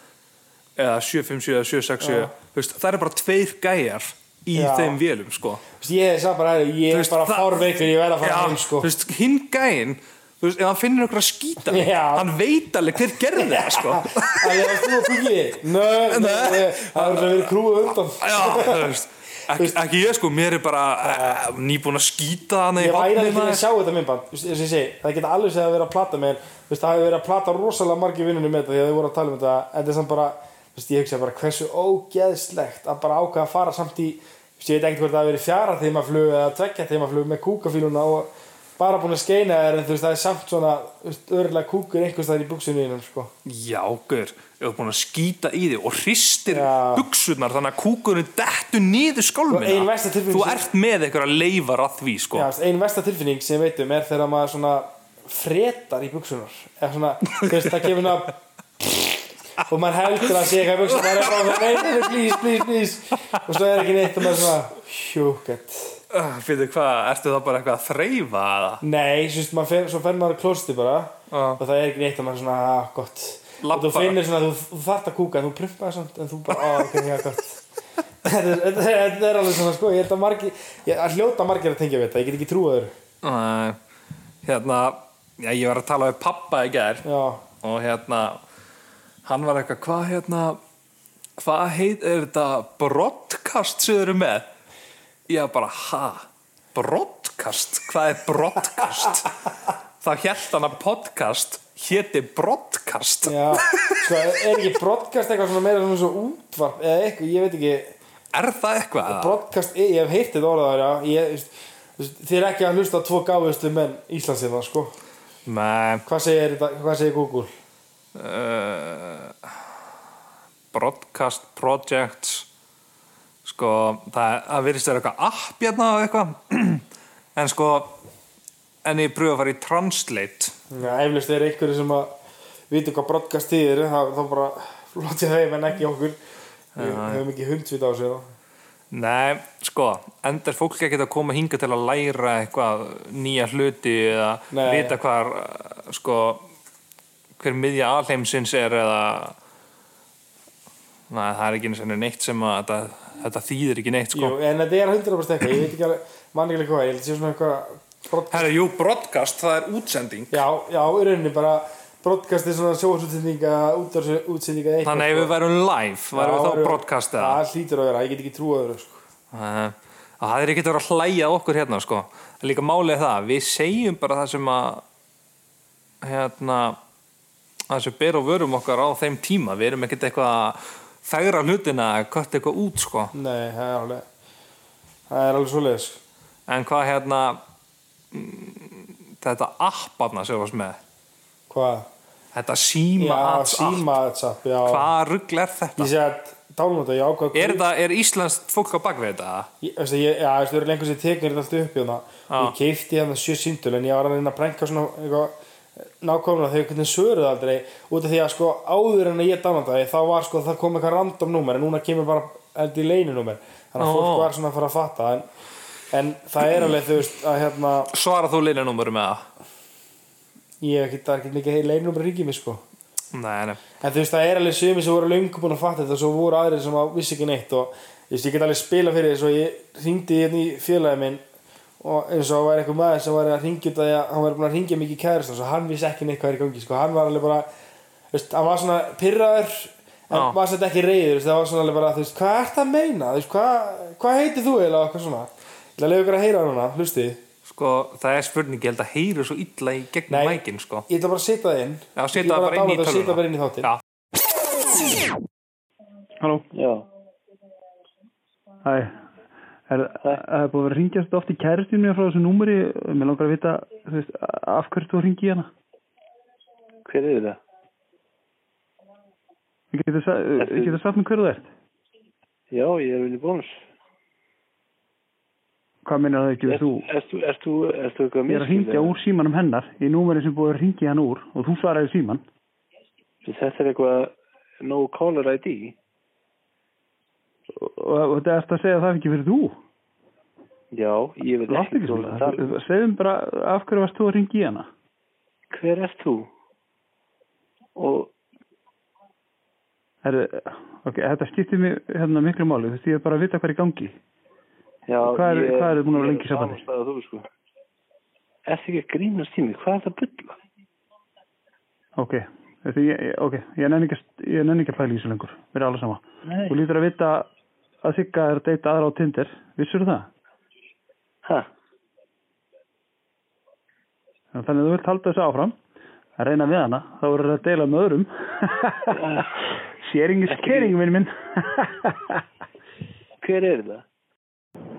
B: eða 757 eða 767
C: Já.
B: þú veist, það eru bara tveir gæjar í
C: Já.
B: þeim vélum sko
C: Vist, ég er saman að ég
B: Þú
C: er
B: veist,
C: bara
B: það-
C: fárveikur ég verð að fara
B: Já,
C: heim sko
B: þú veist, hinn gæin þú veist, ef hann finnir okkur að skýta
C: Já.
B: hann veit alveg hver gerði það sko
C: að ég varst þú að kukki nö, nö,
B: Nei.
C: nö, það er að vera krúið undan
B: já, þú veist Ek, ekki ég sko, mér er bara uh, nýbúin að skýta hann
C: ég væri ekki að sjá þetta myndband eins og ég segi, það geta alveg segið að vera að plata með það hafi verið að plata rosalega margir vinnunum með þetta því að þau voru að tala um þetta en þetta er samt bara, þú veist, ég hugsa bara hversu ógeðslegt að bara ákveða að fara samt í þú veist, ég veit ekkert hvort það hafi verið fjara þeimaflug eða tveggja þeimaflug með kúkafíluna og bara búin að skeina þér en þú veist, það er samt svona þú veist, örlega kúkur einhvers þar í buksinu innum sko.
B: já, gaur, ef þú er búin að skýta í þig og hristir
C: Já.
B: buksunar þannig að kúkurinn dettu niður
C: Og ein
B: skálmina
C: versta tilfinning
B: þú
C: sem-
B: ert með einhverja leifar að því sko
C: Já, þú veist, ein versta tilfinning sem ég veit um er þegar maður svona fretar í buksunar eða svona, þú veist, það kemur ná og maður heldur að sé eitthvað í buksunar maður er bara, nei, nei, nei, please, please, please og svo er ekki neitt og maður er svona hjúkett
B: Uh, Fyrir hvað, ertu þá bara eitthvað að þreyfa eða?
C: Nei, þú veist, maður fer, svo fer maður klósti bara
B: Já.
C: og það er ekki neitt og maður er svona, ah, gott
B: Labba.
C: og þú finnir svona, þú, þú þarft að kúka en þú prumpaði samt en þú bara, ah, ok, já, gott Þetta er- Þetta er- þetta er alveg svona, sko, ég held að margir ég að hljóta margir að tengja við þetta, ég get ekki trúið þér
B: Nei, hérna, já, ég var að tala við pappa í gær
C: Já,
B: og hérna, hann var eitthvað, hvað hérna, hvað heit, er þetta broadcast sem þau eru með? Ég bara, ha, broadcast, hvað er broadcast? Þá hélt hann að podcast héti broadcast.
C: Já, sko, er ekki broadcast eitthvað svona meira svona svo útvarp eða eitthvað, ég veit ekki
B: Er það eitthvað? eða?
C: broadcast, ég, ég hef heyrt þetta orðað já, ég, veist, veist, þið er ekki að hlusta á tvo gáðustu menn Íslandsina, sko
B: Nei,
C: hvað segir, þetta, hvað segir Google?
B: uh, broadcast projects sko það, það virðist vera eitthvað app hérna og eitthvað en sko en ég pröfu að fara í translate
C: Já, eflust er einhverju sem að viti hvað broadcast þýðir, þá, þá bara flotja þeim en ekki okkur við höfum ekki hundsvít á sig
B: nei sko enda er fólk ekki að koma hinga til að læra eitthvað nýja hluti eða
C: Nei.
B: vita hvar uh, sko hver miðja alheimsins er eða nei það er ekki einu sinni neitt sem að þetta, þetta þýðir ekki neitt sko
C: Jú, en þetta er 100% eitthvað, ég veit ekki alveg mannigilega hvað, ég held að sé svona eitthvað broadcast
B: Herra, jú, broadcast, það er útsending
C: já, já, í rauninni bara broadcast er svona sjóðsútsendinga útdórsútsendinga eitthvað
B: Þannig ef
C: sko.
B: við værum live, værum
C: Já,
B: við þá
C: eru-
B: broadcast eða
C: Það hlýtur að vera, ég get ekki trúið öðru sko.
B: Nei, Það er ekki að vera að hlæja að okkur hérna sko En Líka málið er það, við segjum bara það sem að hérna það sem ber og vörum okkar á þeim tíma Við erum ekkert eitthvað að fegra hlutina að kött eitthvað út sko
C: Nei, það er alveg Það er alveg svoleiðis
B: En hvað hérna mm, þetta apparna sem varst með
C: Hvað?
B: Þetta síma
C: Já,
B: ads app
C: síma aðsapp já.
B: Hvað rugl er þetta?
C: Ég sé að dálmönda, ég ákvað
B: Er, það, er Íslands fólk á bakvið þetta?
C: Ég, veistu, ég, já, veistu, það eru lengur sem teknir þetta allt upp í hana
B: Já.
C: Ég keipti hérna sjö síndul En ég var að reyna að prenka svona eitthvað eh, nákvæmlega þegar hvernig svöruð aldrei út af því að sko áður en að ég dánandaði þá var sko það kom eitthvað random númer en núna kemur bara held í leyninúmer þannig að
B: Ó.
C: fólk var svona að fara að fatta en, en það er alveg þú veist að hérna
B: Svara þú leinanúmurum með það?
C: ég hef ekki, það er ekki mikið leinumri ringið mér sko
B: Nei, nei.
C: en þú veist það er alveg sumi sem voru löngu búin að fatta þetta og svo voru aðrir sem að vissi ekki neitt og ég, veist, ég get alveg spila fyrir þess og ég ringdi hérna í félagi minn og eins og það var eitthvað maður sem var að ringja út af því að hann var búin að ringja mikið kæðurst og hann vissi ekki neitt hvað er í gangi sko. hann var alveg bara, þú veist, hann var svona pyrraður en
B: Já.
C: var svolítið ekki reyður þú veist, það var svona alveg bara, þú veist, hvað ert að meina þú veist, hvað, hvað heitir þú eiginlega og eitthvað svona ég ætla að leiða ykkur að heyra núna, hlustið
B: Sko, það er spurning, ég held að heyru svo illa í gegnum
C: Nei.
B: mækin, sko.
C: ég ætla bara að setja það inn
B: Já, setja
C: Ég ætla
B: það bara inn í
C: að downloada og setja
B: tölvuna.
C: það bara inn í þáttinn
B: Já.
D: Halló,
E: Já,
D: hæ. Er, það er búið að vera að ringja svolítið oft í kæristinu mér frá þessu númeri. Mér langar að vita, þú veist, af hverju þú ringi hana.
E: hver er það?
D: Ég getur sa- ég getur sagt mér hverju þú ert.
E: Já, ég er vinni bónus.
D: Hvað meinar það ekki við þú?
E: Erst þú, erst þú, erst þú eitthvað
D: Ég er að ringja úr símanum hennar í númeri sem búið að ringja hann úr og þú svaraði síman.
E: Þetta er eitthvað no caller ID.
D: Og, og þetta er að segja að það er ekki fyrir þú.
E: Já, ég veit
D: Láttu ekki
E: hvað
D: svona.
E: það tala um.
D: Segðum bara af hverju varst þú að ringi hana.
E: Hver erst þú? Og
D: Herru, ok, þetta skiptir mig hérna miklu máli, þú veist, ég er bara að vita hvað er í gangi.
E: Já,
D: Hvað er-
E: ég-
D: hvað eru búin að vera
E: ég
D: lengi í sambandi?
E: sama stað og þú, sko. Er það ekki að grínast tími? Hvað er það að bulla?
D: Ok, þetta ég, ég- ok, ég nenni ekki, að st- ég nenni ekki að pæla í þessu lengur, mér er alveg sama.
E: Nei.
D: Þú lítur að vita að Sigga er að deyta aðra á Tinder, vissur það?
E: Hæ?
D: Þannig að þú vilt halda þessu áfram, að reyna við hana, þá verður það að deila með öðrum. Sharing is
E: Ekki-
D: caring, minn minn.
E: Hver er það?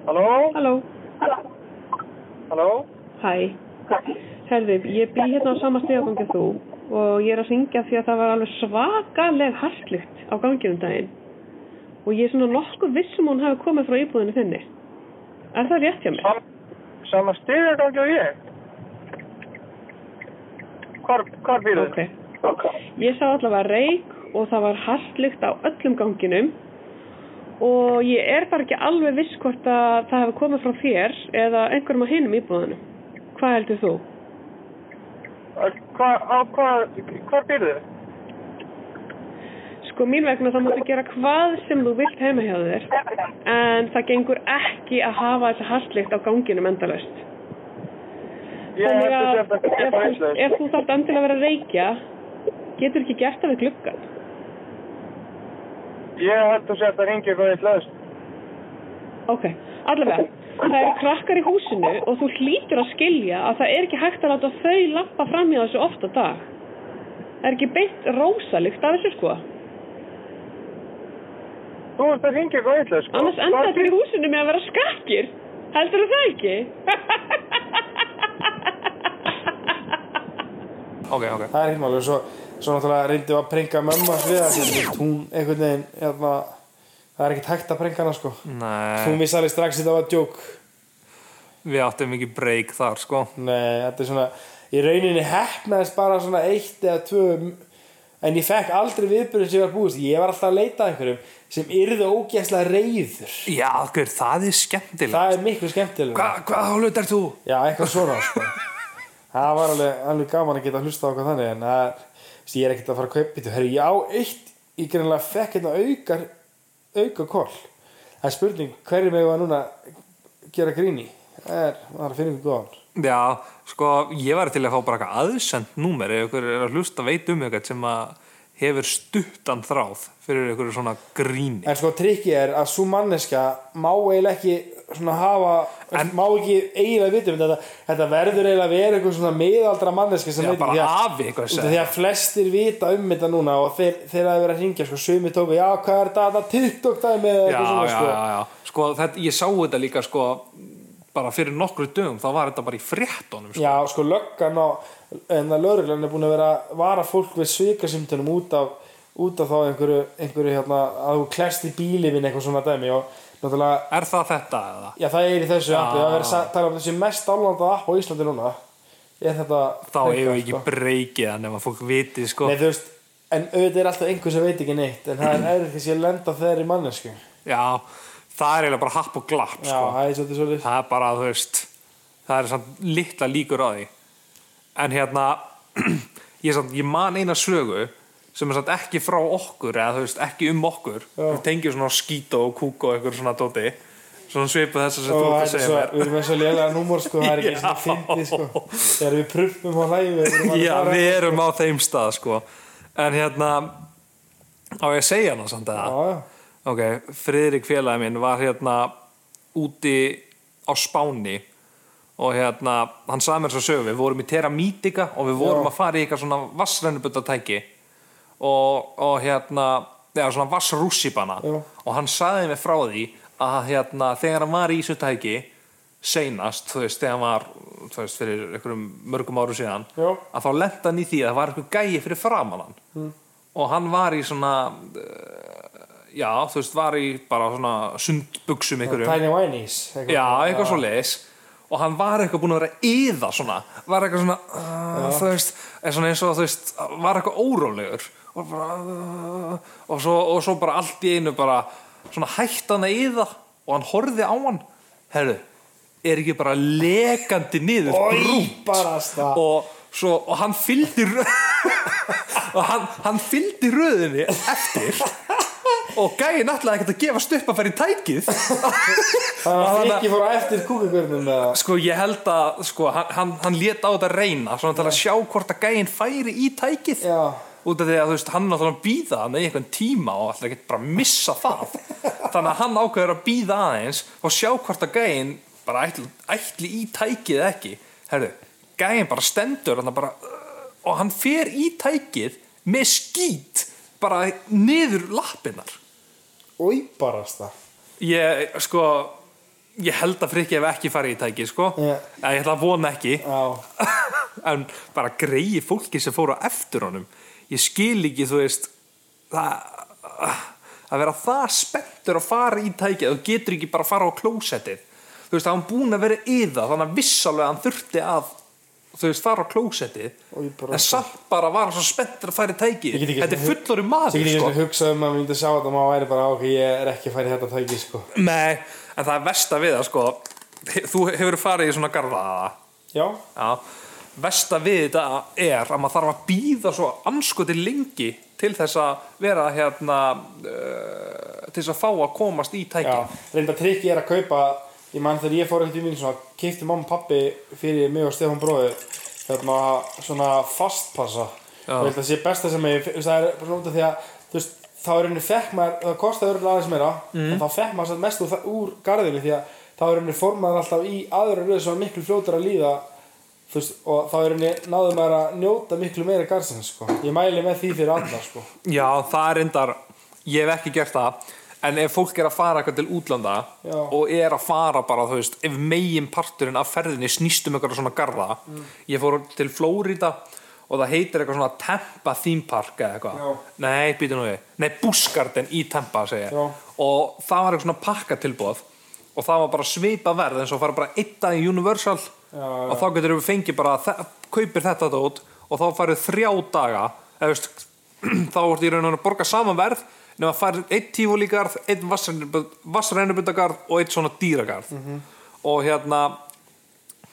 F: Halló.
E: Halló?
F: Hæ. Herði, ég bý hérna á sama stegagangi og þú og ég er að syngja því að það var alveg svakaleg hartlugt á ganginum daginn og ég er svona nokkuð vissum hún hafi komið frá íbúðinu þinni. Er það rétt hjá mér?
G: Sama stigagangi og ég? Hvar, hvar býrðu?
F: Ok. Ég sá allavega reik og það var hartlugt á öllum ganginum og ég er bara ekki alveg viss hvort að það hefði komið frá þér eða einhverjum á hinum íbúðinu. Hvað heldur þú?
G: Hvar, á, hvar, hvar býrðu?
F: Sko mín vegna það máttu gera hvað sem þú vilt heima hjá þér en það gengur ekki að hafa þessa hartlikt á ganginum endalaust.
G: Ég held að
F: að
G: þetta
F: ef,
G: er bara
F: þú-
G: eitthvað.
F: ef þú þarft endilega að vera að reykja getur ekki gert það við gluggan.
G: Ég held að þetta ringi eitthvað eitthvað.
F: Ok, allavega. Það eru krakkar í húsinu og þú hlýtur að skilja að það er ekki hægt að láta þau lappa fram í þessu oft á dag. Það er ekki beint rósalikt af þessu sko.
G: Þú ert að ringi eitthvað eitthvað, sko.
F: Annars enda þetta í húsinu með að vera skakkir. Heldur það ekki?
B: ok, ok
C: það er heimálið svo, svo náttúrulega reyndi að prenga mömmu að sviða hún einhvern veginn hérna, það er ekkert hægt að prenga hana sko
B: Nei,
C: hún vissi alveg strax að þetta var djók
B: við áttum ekki break þar sko
C: nei, þetta er svona í rauninni hefnaðist bara svona eitt eða tvö en ég fekk aldrei viðbyrðin sem ég var búist ég var alltaf að leita að einhverjum sem yrðu ógæslega reyður
B: Já, hver, það er skemmtilega
C: það er miklu skemmtilega
B: Hva, Hvað hálfut er þú?
C: Já, eitthvað svona sko. Það var alveg, alveg gaman að geta hlusta á hvað þannig en það, veist, ég er ekkert að fara að kaupa þetta Herru, já, eitt, ég greinlega fekk hérna aukar, auka koll Það er spurning, hverju megum að núna gera gríni? Það er, það er að finna ykkur góðan
B: Já, sko, ég var til að fá bara eitthvað aðsend númer ef ykkur er að hlusta veit um eitthvað sem að hefur stuttan þráð fyrir ykkur svona gríni
C: En sko, trikki er að svo manneska má eiginlega ekki svona hafa
B: En-
C: má ekki eiginlega vitum þetta, þetta verður eiginlega að vera eitthvað svona miðaldra manneska sem
B: Já,
C: veit ekki
B: bara
C: því að-
B: afi eitthvað að
C: Út af
B: segja.
C: því að flestir vita um þetta núna og þeir, þeir að vera að ringja sko, sumi tóku, já hvað er þetta, TikTok dæmi
B: já,
C: eða eitthvað svona
B: já,
C: sko
B: já, já, sko þetta, ég sá þetta líka sko bara fyrir nokkru dögum þá var þetta bara í fréttonum sko.
C: Já, sko löggan á en að lögreglan er búin að vera að vara fólk við svikasýmtunum út af út af þá einhverju, einhverju hérna, að þú klest í bíli minn eitthvað svona dæmi og náttúrulega,
B: Er það þetta eða?
C: já það er í þessu appi, það er verið að tala um þessi mest álanda app á Íslandi núna er þetta
B: Þá
C: þetta,
B: hefur ekki
C: sko.
B: breykið hann ef að fólk viti sko
C: Nei, þú veist, en auðvitað er alltaf einhver sem veit ekki neitt en það er erfitt kannski að lenda þeirri mannesku
B: Já, það er eiginlega bara happ og glapp
C: Já,
B: sko.
C: það er svolítið svolítið
B: það er bara, þú veist það er samt litla líkur á því en hérna ég, samt, ég man eina sögu sem er samt ekki frá okkur eða þú veist, ekki um okkur við tengjum svona á skító og kúk og eitthvað svona dóti svona svipa þess að sem
C: Og
B: þú
C: það
B: ert að segja
C: er svo,
B: mér
C: við erum með svo lélega númor sko, það er ekki svona fyndið sko Þegar við prumpum á hlæfi við erum að
B: Já,
C: fara-
B: við erum á þeim stað sko en hérna á ég að segja hana samt eða
C: Já, já
B: Ok, Friðrik félagi minn var hérna úti á Spáni og hérna, hann sagði mér svo sögum við vorum í Teramitica og við vorum
C: Já.
B: að fara í eitthvað svona vassrennubutatæki og, og hérna já, svona vassrússipana
C: Já.
B: og hann sagði mér frá því að hérna, þegar hann var í þessu tæki seinast, þú veist, þegar hann var þú veist, fyrir einhverjum mörgum árum síðan
C: Já.
B: að þá lenda hann í því að það var einhver gæi fyrir framan hann mm. og hann var í svona eh, já, þú veist, var í bara svona sundbuxum einhverjum
C: Tiny Whinies eitthvað.
B: já, eitthvað svo leis og hann var eitthvað búin að vera yða svona, var eitthvað svona uh, þú veist, er svona eins og þú veist var eitthvað órólegur og, bara, uh, og, svo, og svo bara allt í einu bara svona hætt hann að yða og hann horfði á hann herru, er ekki bara lekandi niður
C: Oj,
B: brúnt
C: barasta.
B: og, svo, og hann fylgdi rö- og hann, hann fylgdi röðinni eftir og gæði náttúrulega ekkert að gefa stupp að fara í tækið
C: Þannig að
B: Þannig að-
C: Friki fór á eftir kúkugörnum eða
B: sko ég held að sko, hann, hann, hann lét á þetta reyna svona til að sjá hvort að gæinn færi í tækið
C: Já.
B: út af því að þú veist hann er náttúrulega að býða hann í einhvern tíma og alltaf ekkert bara að missa það þannig að hann ákveður að býða aðeins og sjá hvort að gæinn bara ætli, ætli í tækið eða ekki herru, gæinn bara stendur hann bara, uh, og hann fer í tækið með skít bara niður lappinnar
C: Íbarast það
B: Ég, sko Ég held að Frikki hef ekki farið í tæki, sko
C: Já.
B: Eða Ég ætla að vona ekki
C: Já,
B: En bara greiði fólki sem fóru á eftir honum Ég skil ekki, þú veist Það Að vera það spenntur að fara í tæki Þú getur ekki bara að fara á klósettið Þú veist, hann búin að vera yða Þannig að vissalega hann þurfti að Þú veist, fara á klósettið
C: Oj, bara-
B: En samt bara var hann svo spenntur að fara í tæki
C: Ég get ekki-
B: Þetta er fullori maður,
C: það
B: sko
C: getur ekki að hugsa um að við myndum sjá þetta og maður væri bara ok, ég er ekki að færi þetta tæki sko
B: Nei, en það er versta við það sko Þú hefur farið í svona garða eða?
C: Já,
B: Já Versta við þetta er að maður þarf að býða svo anskoti lengi til þess að vera hérna uh, til þess að fá að komast í tæki
C: já, reynda trikki er að kaupa Ég man þegar ég fór einhvern veginn svona Kifti mamma og pappi fyrir mig og Stefán bróði Þarna svona fastpassa
B: Já.
C: Og ég held að það sé besta sem ég þú veist, Það er bara út af því að þú veist, Þá er henni fekk maður, það kostaði örugglega aðeins meira
B: Mm.
C: En þá fekk maður samt mest úr, úr garðinu Því að þá er henni formaður alltaf í aðra röð Svo miklu fljótur að líða þú veist, Og þá er henni náður maður að njóta miklu meira garðsinn sko. Ég mæli með því fyrir alla sko.
B: Já, það er endar ég hef ekki gert það en ef fólk er að fara eitthvað til útlanda
C: Já.
B: og er að fara bara, þú veist ef megin parturinn af ferðinni snýst um eitthvað svona garða
C: Mm.
B: ég fór til Flórida og það heitir eitthvað svona Tampa Theme Park eða
C: Já.
B: eitthvað nei, býtu nú við, nei, Busgarden í Tampa segi ég,
C: Já.
B: og það var eitthvað svona pakkatilbóð og það var bara svipa verð eins og fara bara eitt dag í Universal
C: Já,
B: og þá getur við fengið bara þe- kaupir þetta dót og þá farið þrjá daga eða veist þá ertu í raun og raun að borga saman verð nema farið eitt tífólígarð, eitt vassrænubundagarð og eitt svona dýragarð
C: Mhm.
B: og hérna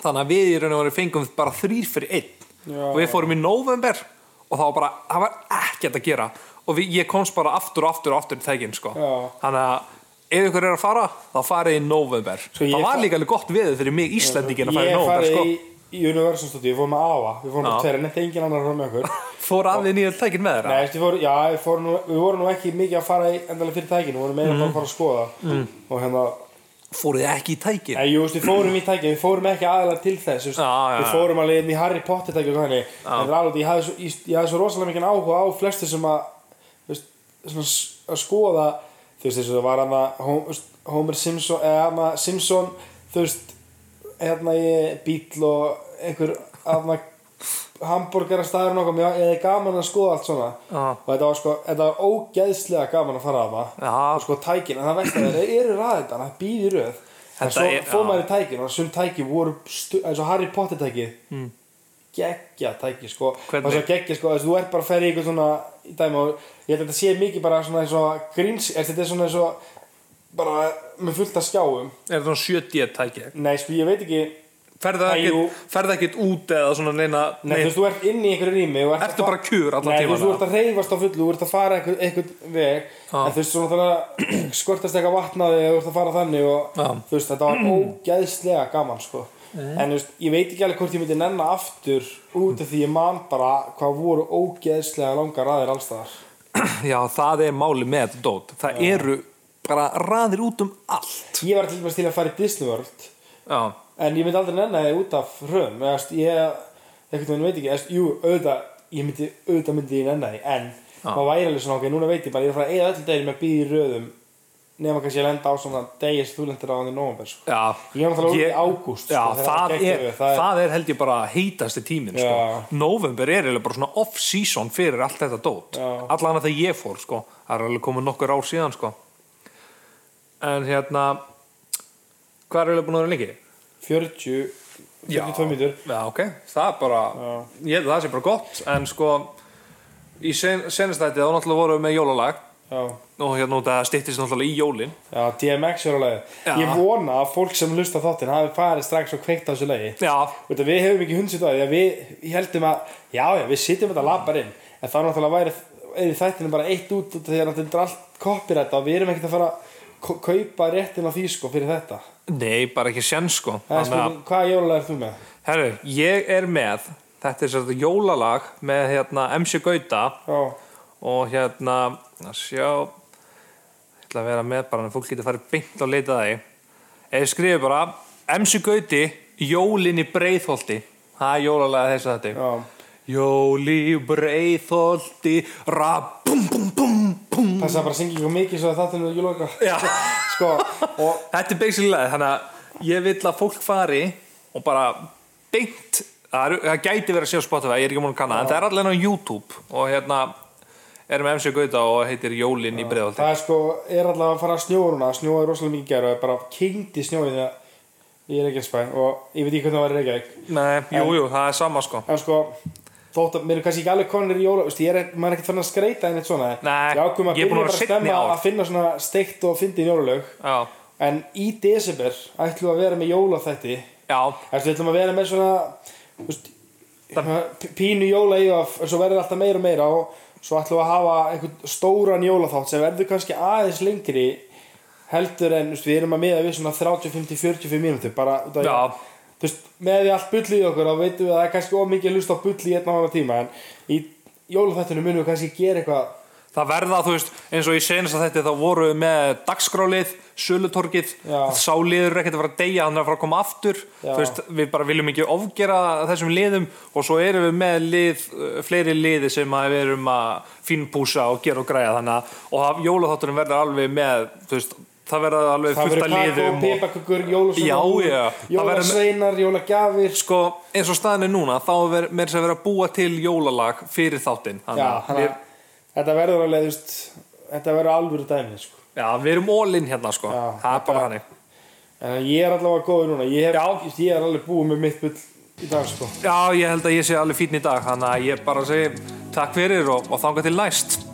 B: þannig að við í raun og raun fengum bara þrýr fyrir einn
C: Já.
B: og við fórum í november og það var bara, það var ekkert að gera og við, ég komst bara aftur og aftur og aftur í tækinn sko,
C: Já.
B: þannig að ef ykkur er að fara, þá farið í november
C: Sko, ég
B: það var
C: fa-
B: líka alveg gott veður fyrir mig Íslandingin að fara í
C: Ég
B: november
C: farið
B: sko.
C: í Universal Studio, við fórum með afa Við fórum
B: Já.
C: með tverja, nefndi engin annar fór með okkur
B: fór að við nýja tækinn með þeirra
C: Nei, eftir, fór, já, við, fórum nú, við vorum nú ekki mikið að fara í endalega fyrir tækinu Við vorum
B: Mhm.
C: meira bara að fara að skoða mm. Og hérna,
B: fóruð ekki í tækinn
C: nei, jú, veist, við fórum í tækinu Við fórum ekki aðalega til þess veist,
B: Já, já,
C: Við
B: já.
C: fórum alveg inn í Harry Potter tækinu En það er alveg, ég hafði svo, ég, ég hafði svo rosalega mikið áhuga á flestu sem að þú veist, svona, s- að skoða Þú veist, þessu var hann að Hom- þú veist, Homer Simpson, eða hann að Simpson Þú veist, hérna ég bíl og einhver aðna hambúrgara staður nokkuð mér eða gaman að skoða allt svona
B: Já.
C: og þetta var sko, þetta var ógeðslega gaman að fara að maður
B: Já.
C: og sko tækin, en það veist að þeir eru raðið þannig að býði röð en
B: Þetta
C: svo
B: er-
C: fór
B: já.
C: maður í tækin og sum tæki voru stu, eins og Harry Potter tækið mm. geggja tæki sko
B: Hvernig?
C: það er svo geggja sko, þess, þú ert bara að ferja í eitthvað svona í dæmi og ég held að þetta sé mikið bara svona eins og gríns, þetta er svona eins og bara með fullt af skjáum
B: er það svona 70 tæki
C: nei sko ég veit ekki
B: ferða
C: Æ, jú.
B: ekkert ferð ekkert út eða svona neina
C: Nei, þú veist, þú ert inn í einhverju rými og
B: Ertu
C: að fa-
B: bara kjur allan
C: Nei, þú
B: tímann,
C: veist, þú ert að reyfast á fullu, þú ert að fara einhver, einhvern veg
B: Já.
C: En þú veist, svona þannig að skortast eitthvað vatnaði og þú ert að fara þannig og
B: Já.
C: Þú veist, þetta var ógæðslega gaman, sko En þú veist, ég veit ekki alveg hvort ég myndi nenna aftur út af því ég man bara hvað voru ógæðslega langar aðeir allstaðar
B: já það er máli með þetta dót það eru bara raðir út um allt
C: Ég var til dæmis til að fara í Disney World
B: já
C: En ég myndi aldrei nenni það út af hröðum Eða, veist, Ég einhvern veginn veit ekki eða, veist, Jú, auðvitað, ég myndi, auðvitað myndi ég nenni það En maður væri alveg svona ok Núna veit ég bara, ég er að fara að eða öll degir með að býða í röðum Nefna kannski að lenda á svona degi sem þú lendir á hann í nóvember sko.
B: Já,
C: Ég er náttúrulega út í ágúst,
B: já,
C: sko,
B: það,
C: þegar það
B: er,
C: geggjuðu, það
B: það,
C: er-
B: er held ég bara heitasti tíminn
C: Já.
B: sko. November er eiginlega bara svona off-season fyrir allt þetta dót
C: Já.
B: Alla hana þegar ég fór sko. Það er alveg komið nokkur ár síðan sko. En hérna Hvað er eiginlega búin að vera lengi?
C: 40,
B: Já.
C: 42 mítur
B: Já, ok, það er bara Ég held að það sé bara gott En sko Í sen, senastætti þá náttúrulega vorum við með jólalag
C: Já,
B: Og hérna út að það styttist náttúrulega í jólin
C: já DMX er
B: Já.
C: á leiði Ég vona að fólk sem hlusta á þáttinn hafi farið strax og kveikt á þessu leiði
B: Já,
C: um Út af við hefum ekki hundsið á því að við ég heldum að, já já, við sitjum þetta lapar inn en þá náttúrulega væri er í þættinu bara eitt út út af því að þetta er allt copyright og við erum ekkert að fara að ko- kaupa réttin á því sko fyrir þetta
B: Nei, bara ekki sjens sko
C: Það er
B: Þannig að-
C: spurning, hvaða jólulega er þú með?
B: Herru, ég er með Þetta er sérst jólalag með hérna MC Gauta
C: Já,
B: og hérna að sjá ég ætla að vera með bara en fólk getur farið beint og leita það í eða ég skrifi bara MC Gauti, jólin í breiðholti það er jólalega þess að þetta
C: já,
B: Jóli í breiðholti ra bum bum bum bum
C: passa bara að syngja ykkur mikið svo að þetta er nú jólulega
B: Já.
C: Sko, og
B: Þetta er basically lagið, þannig að ég vil að fólk fari og bara beint það, er, það gæti verið að sjá Spotify, ég er ekki múin að kanna en það er allavega á YouTube og hérna er með MC Gauta og heitir Jólin í breiðholti
C: það er sko, er allavega að fara að snjóa núna snjóaði rosalega mikið í gær og er bara kingdi snjóið þegar ég er ekki spæ og ég veit ekki hvernig það var í Reykjavík
B: Nei, jú, jú, það er sama sko
C: en sko þótt að mér er kannski ekki alveg konir í jóla veist, ég er, maður er ekkert fann að skreita en eitt svona
B: Nei,
C: ég ákveðum að
B: ég er
C: byrja
B: búinn að vera seinni
C: bara að stemma
B: ár.
C: að finna svona steikt og fyndin jólalög
B: Já,
C: en í desember ætlum við að vera með jólaþætti
B: já,
C: Ertu, við ætlum að vera með svona þú veist, p- pínu jóla í og svo verður alltaf meira og meira og svo ætlum við að hafa einhvern stóran jólaþátt sem verður kannski aðeins lengri heldur en þú veist, við erum að miða við svona 30, 50, 45 mínútur bara út af
B: Já.
C: Þú veist, með því allt bulli í okkur þá veitum við að það er kannski ómikið að hlusta á bulli í einn og annan tíma en í jólaþættinu munum við kannski gera eitthvað
B: það verða, þú veist, eins og ég senast að þetta þá voru við með dagskrálið, sölutorkið,
C: Já.
B: sáliður er ekkert að fara að deyja, hann er að fara að koma aftur,
C: Já.
B: þú veist, við bara viljum ekki ofgera þessum liðum og svo erum við með lið, uh, fleiri liði sem að við erum að fínpúsa og gera og græja þannig að, og það, jólaþátturinn verður alveg með, þú veist, það verða alveg
C: það
B: fullt
C: verður
B: að
C: kakó,
B: liðum og,
C: pipakökur, jólasveinar
B: Já, já, það verður-
C: jólasveinar, jólagjafir
B: sko, eins og staðinu núna, þá er ver- meira þess að vera að búa til jólalag fyrir þáttinn,
C: Já,
B: þannig að
C: þannig
B: við-
C: að þetta verður alveg, þú veist, þetta verður alvöru dæmi, sko.
B: já, við erum ólinn hérna, sko,
C: Já,
B: það er bara
C: þetta-
B: hannig.
C: En ég er allavega góður núna, ég, hef,
B: Já.
C: þú veist, ég er alveg búið með mitt bull í dag, sko.
B: Já, ég held að ég sé alveg fín í dag þannig að ég bara segi takk fyrir og, og þanga til næst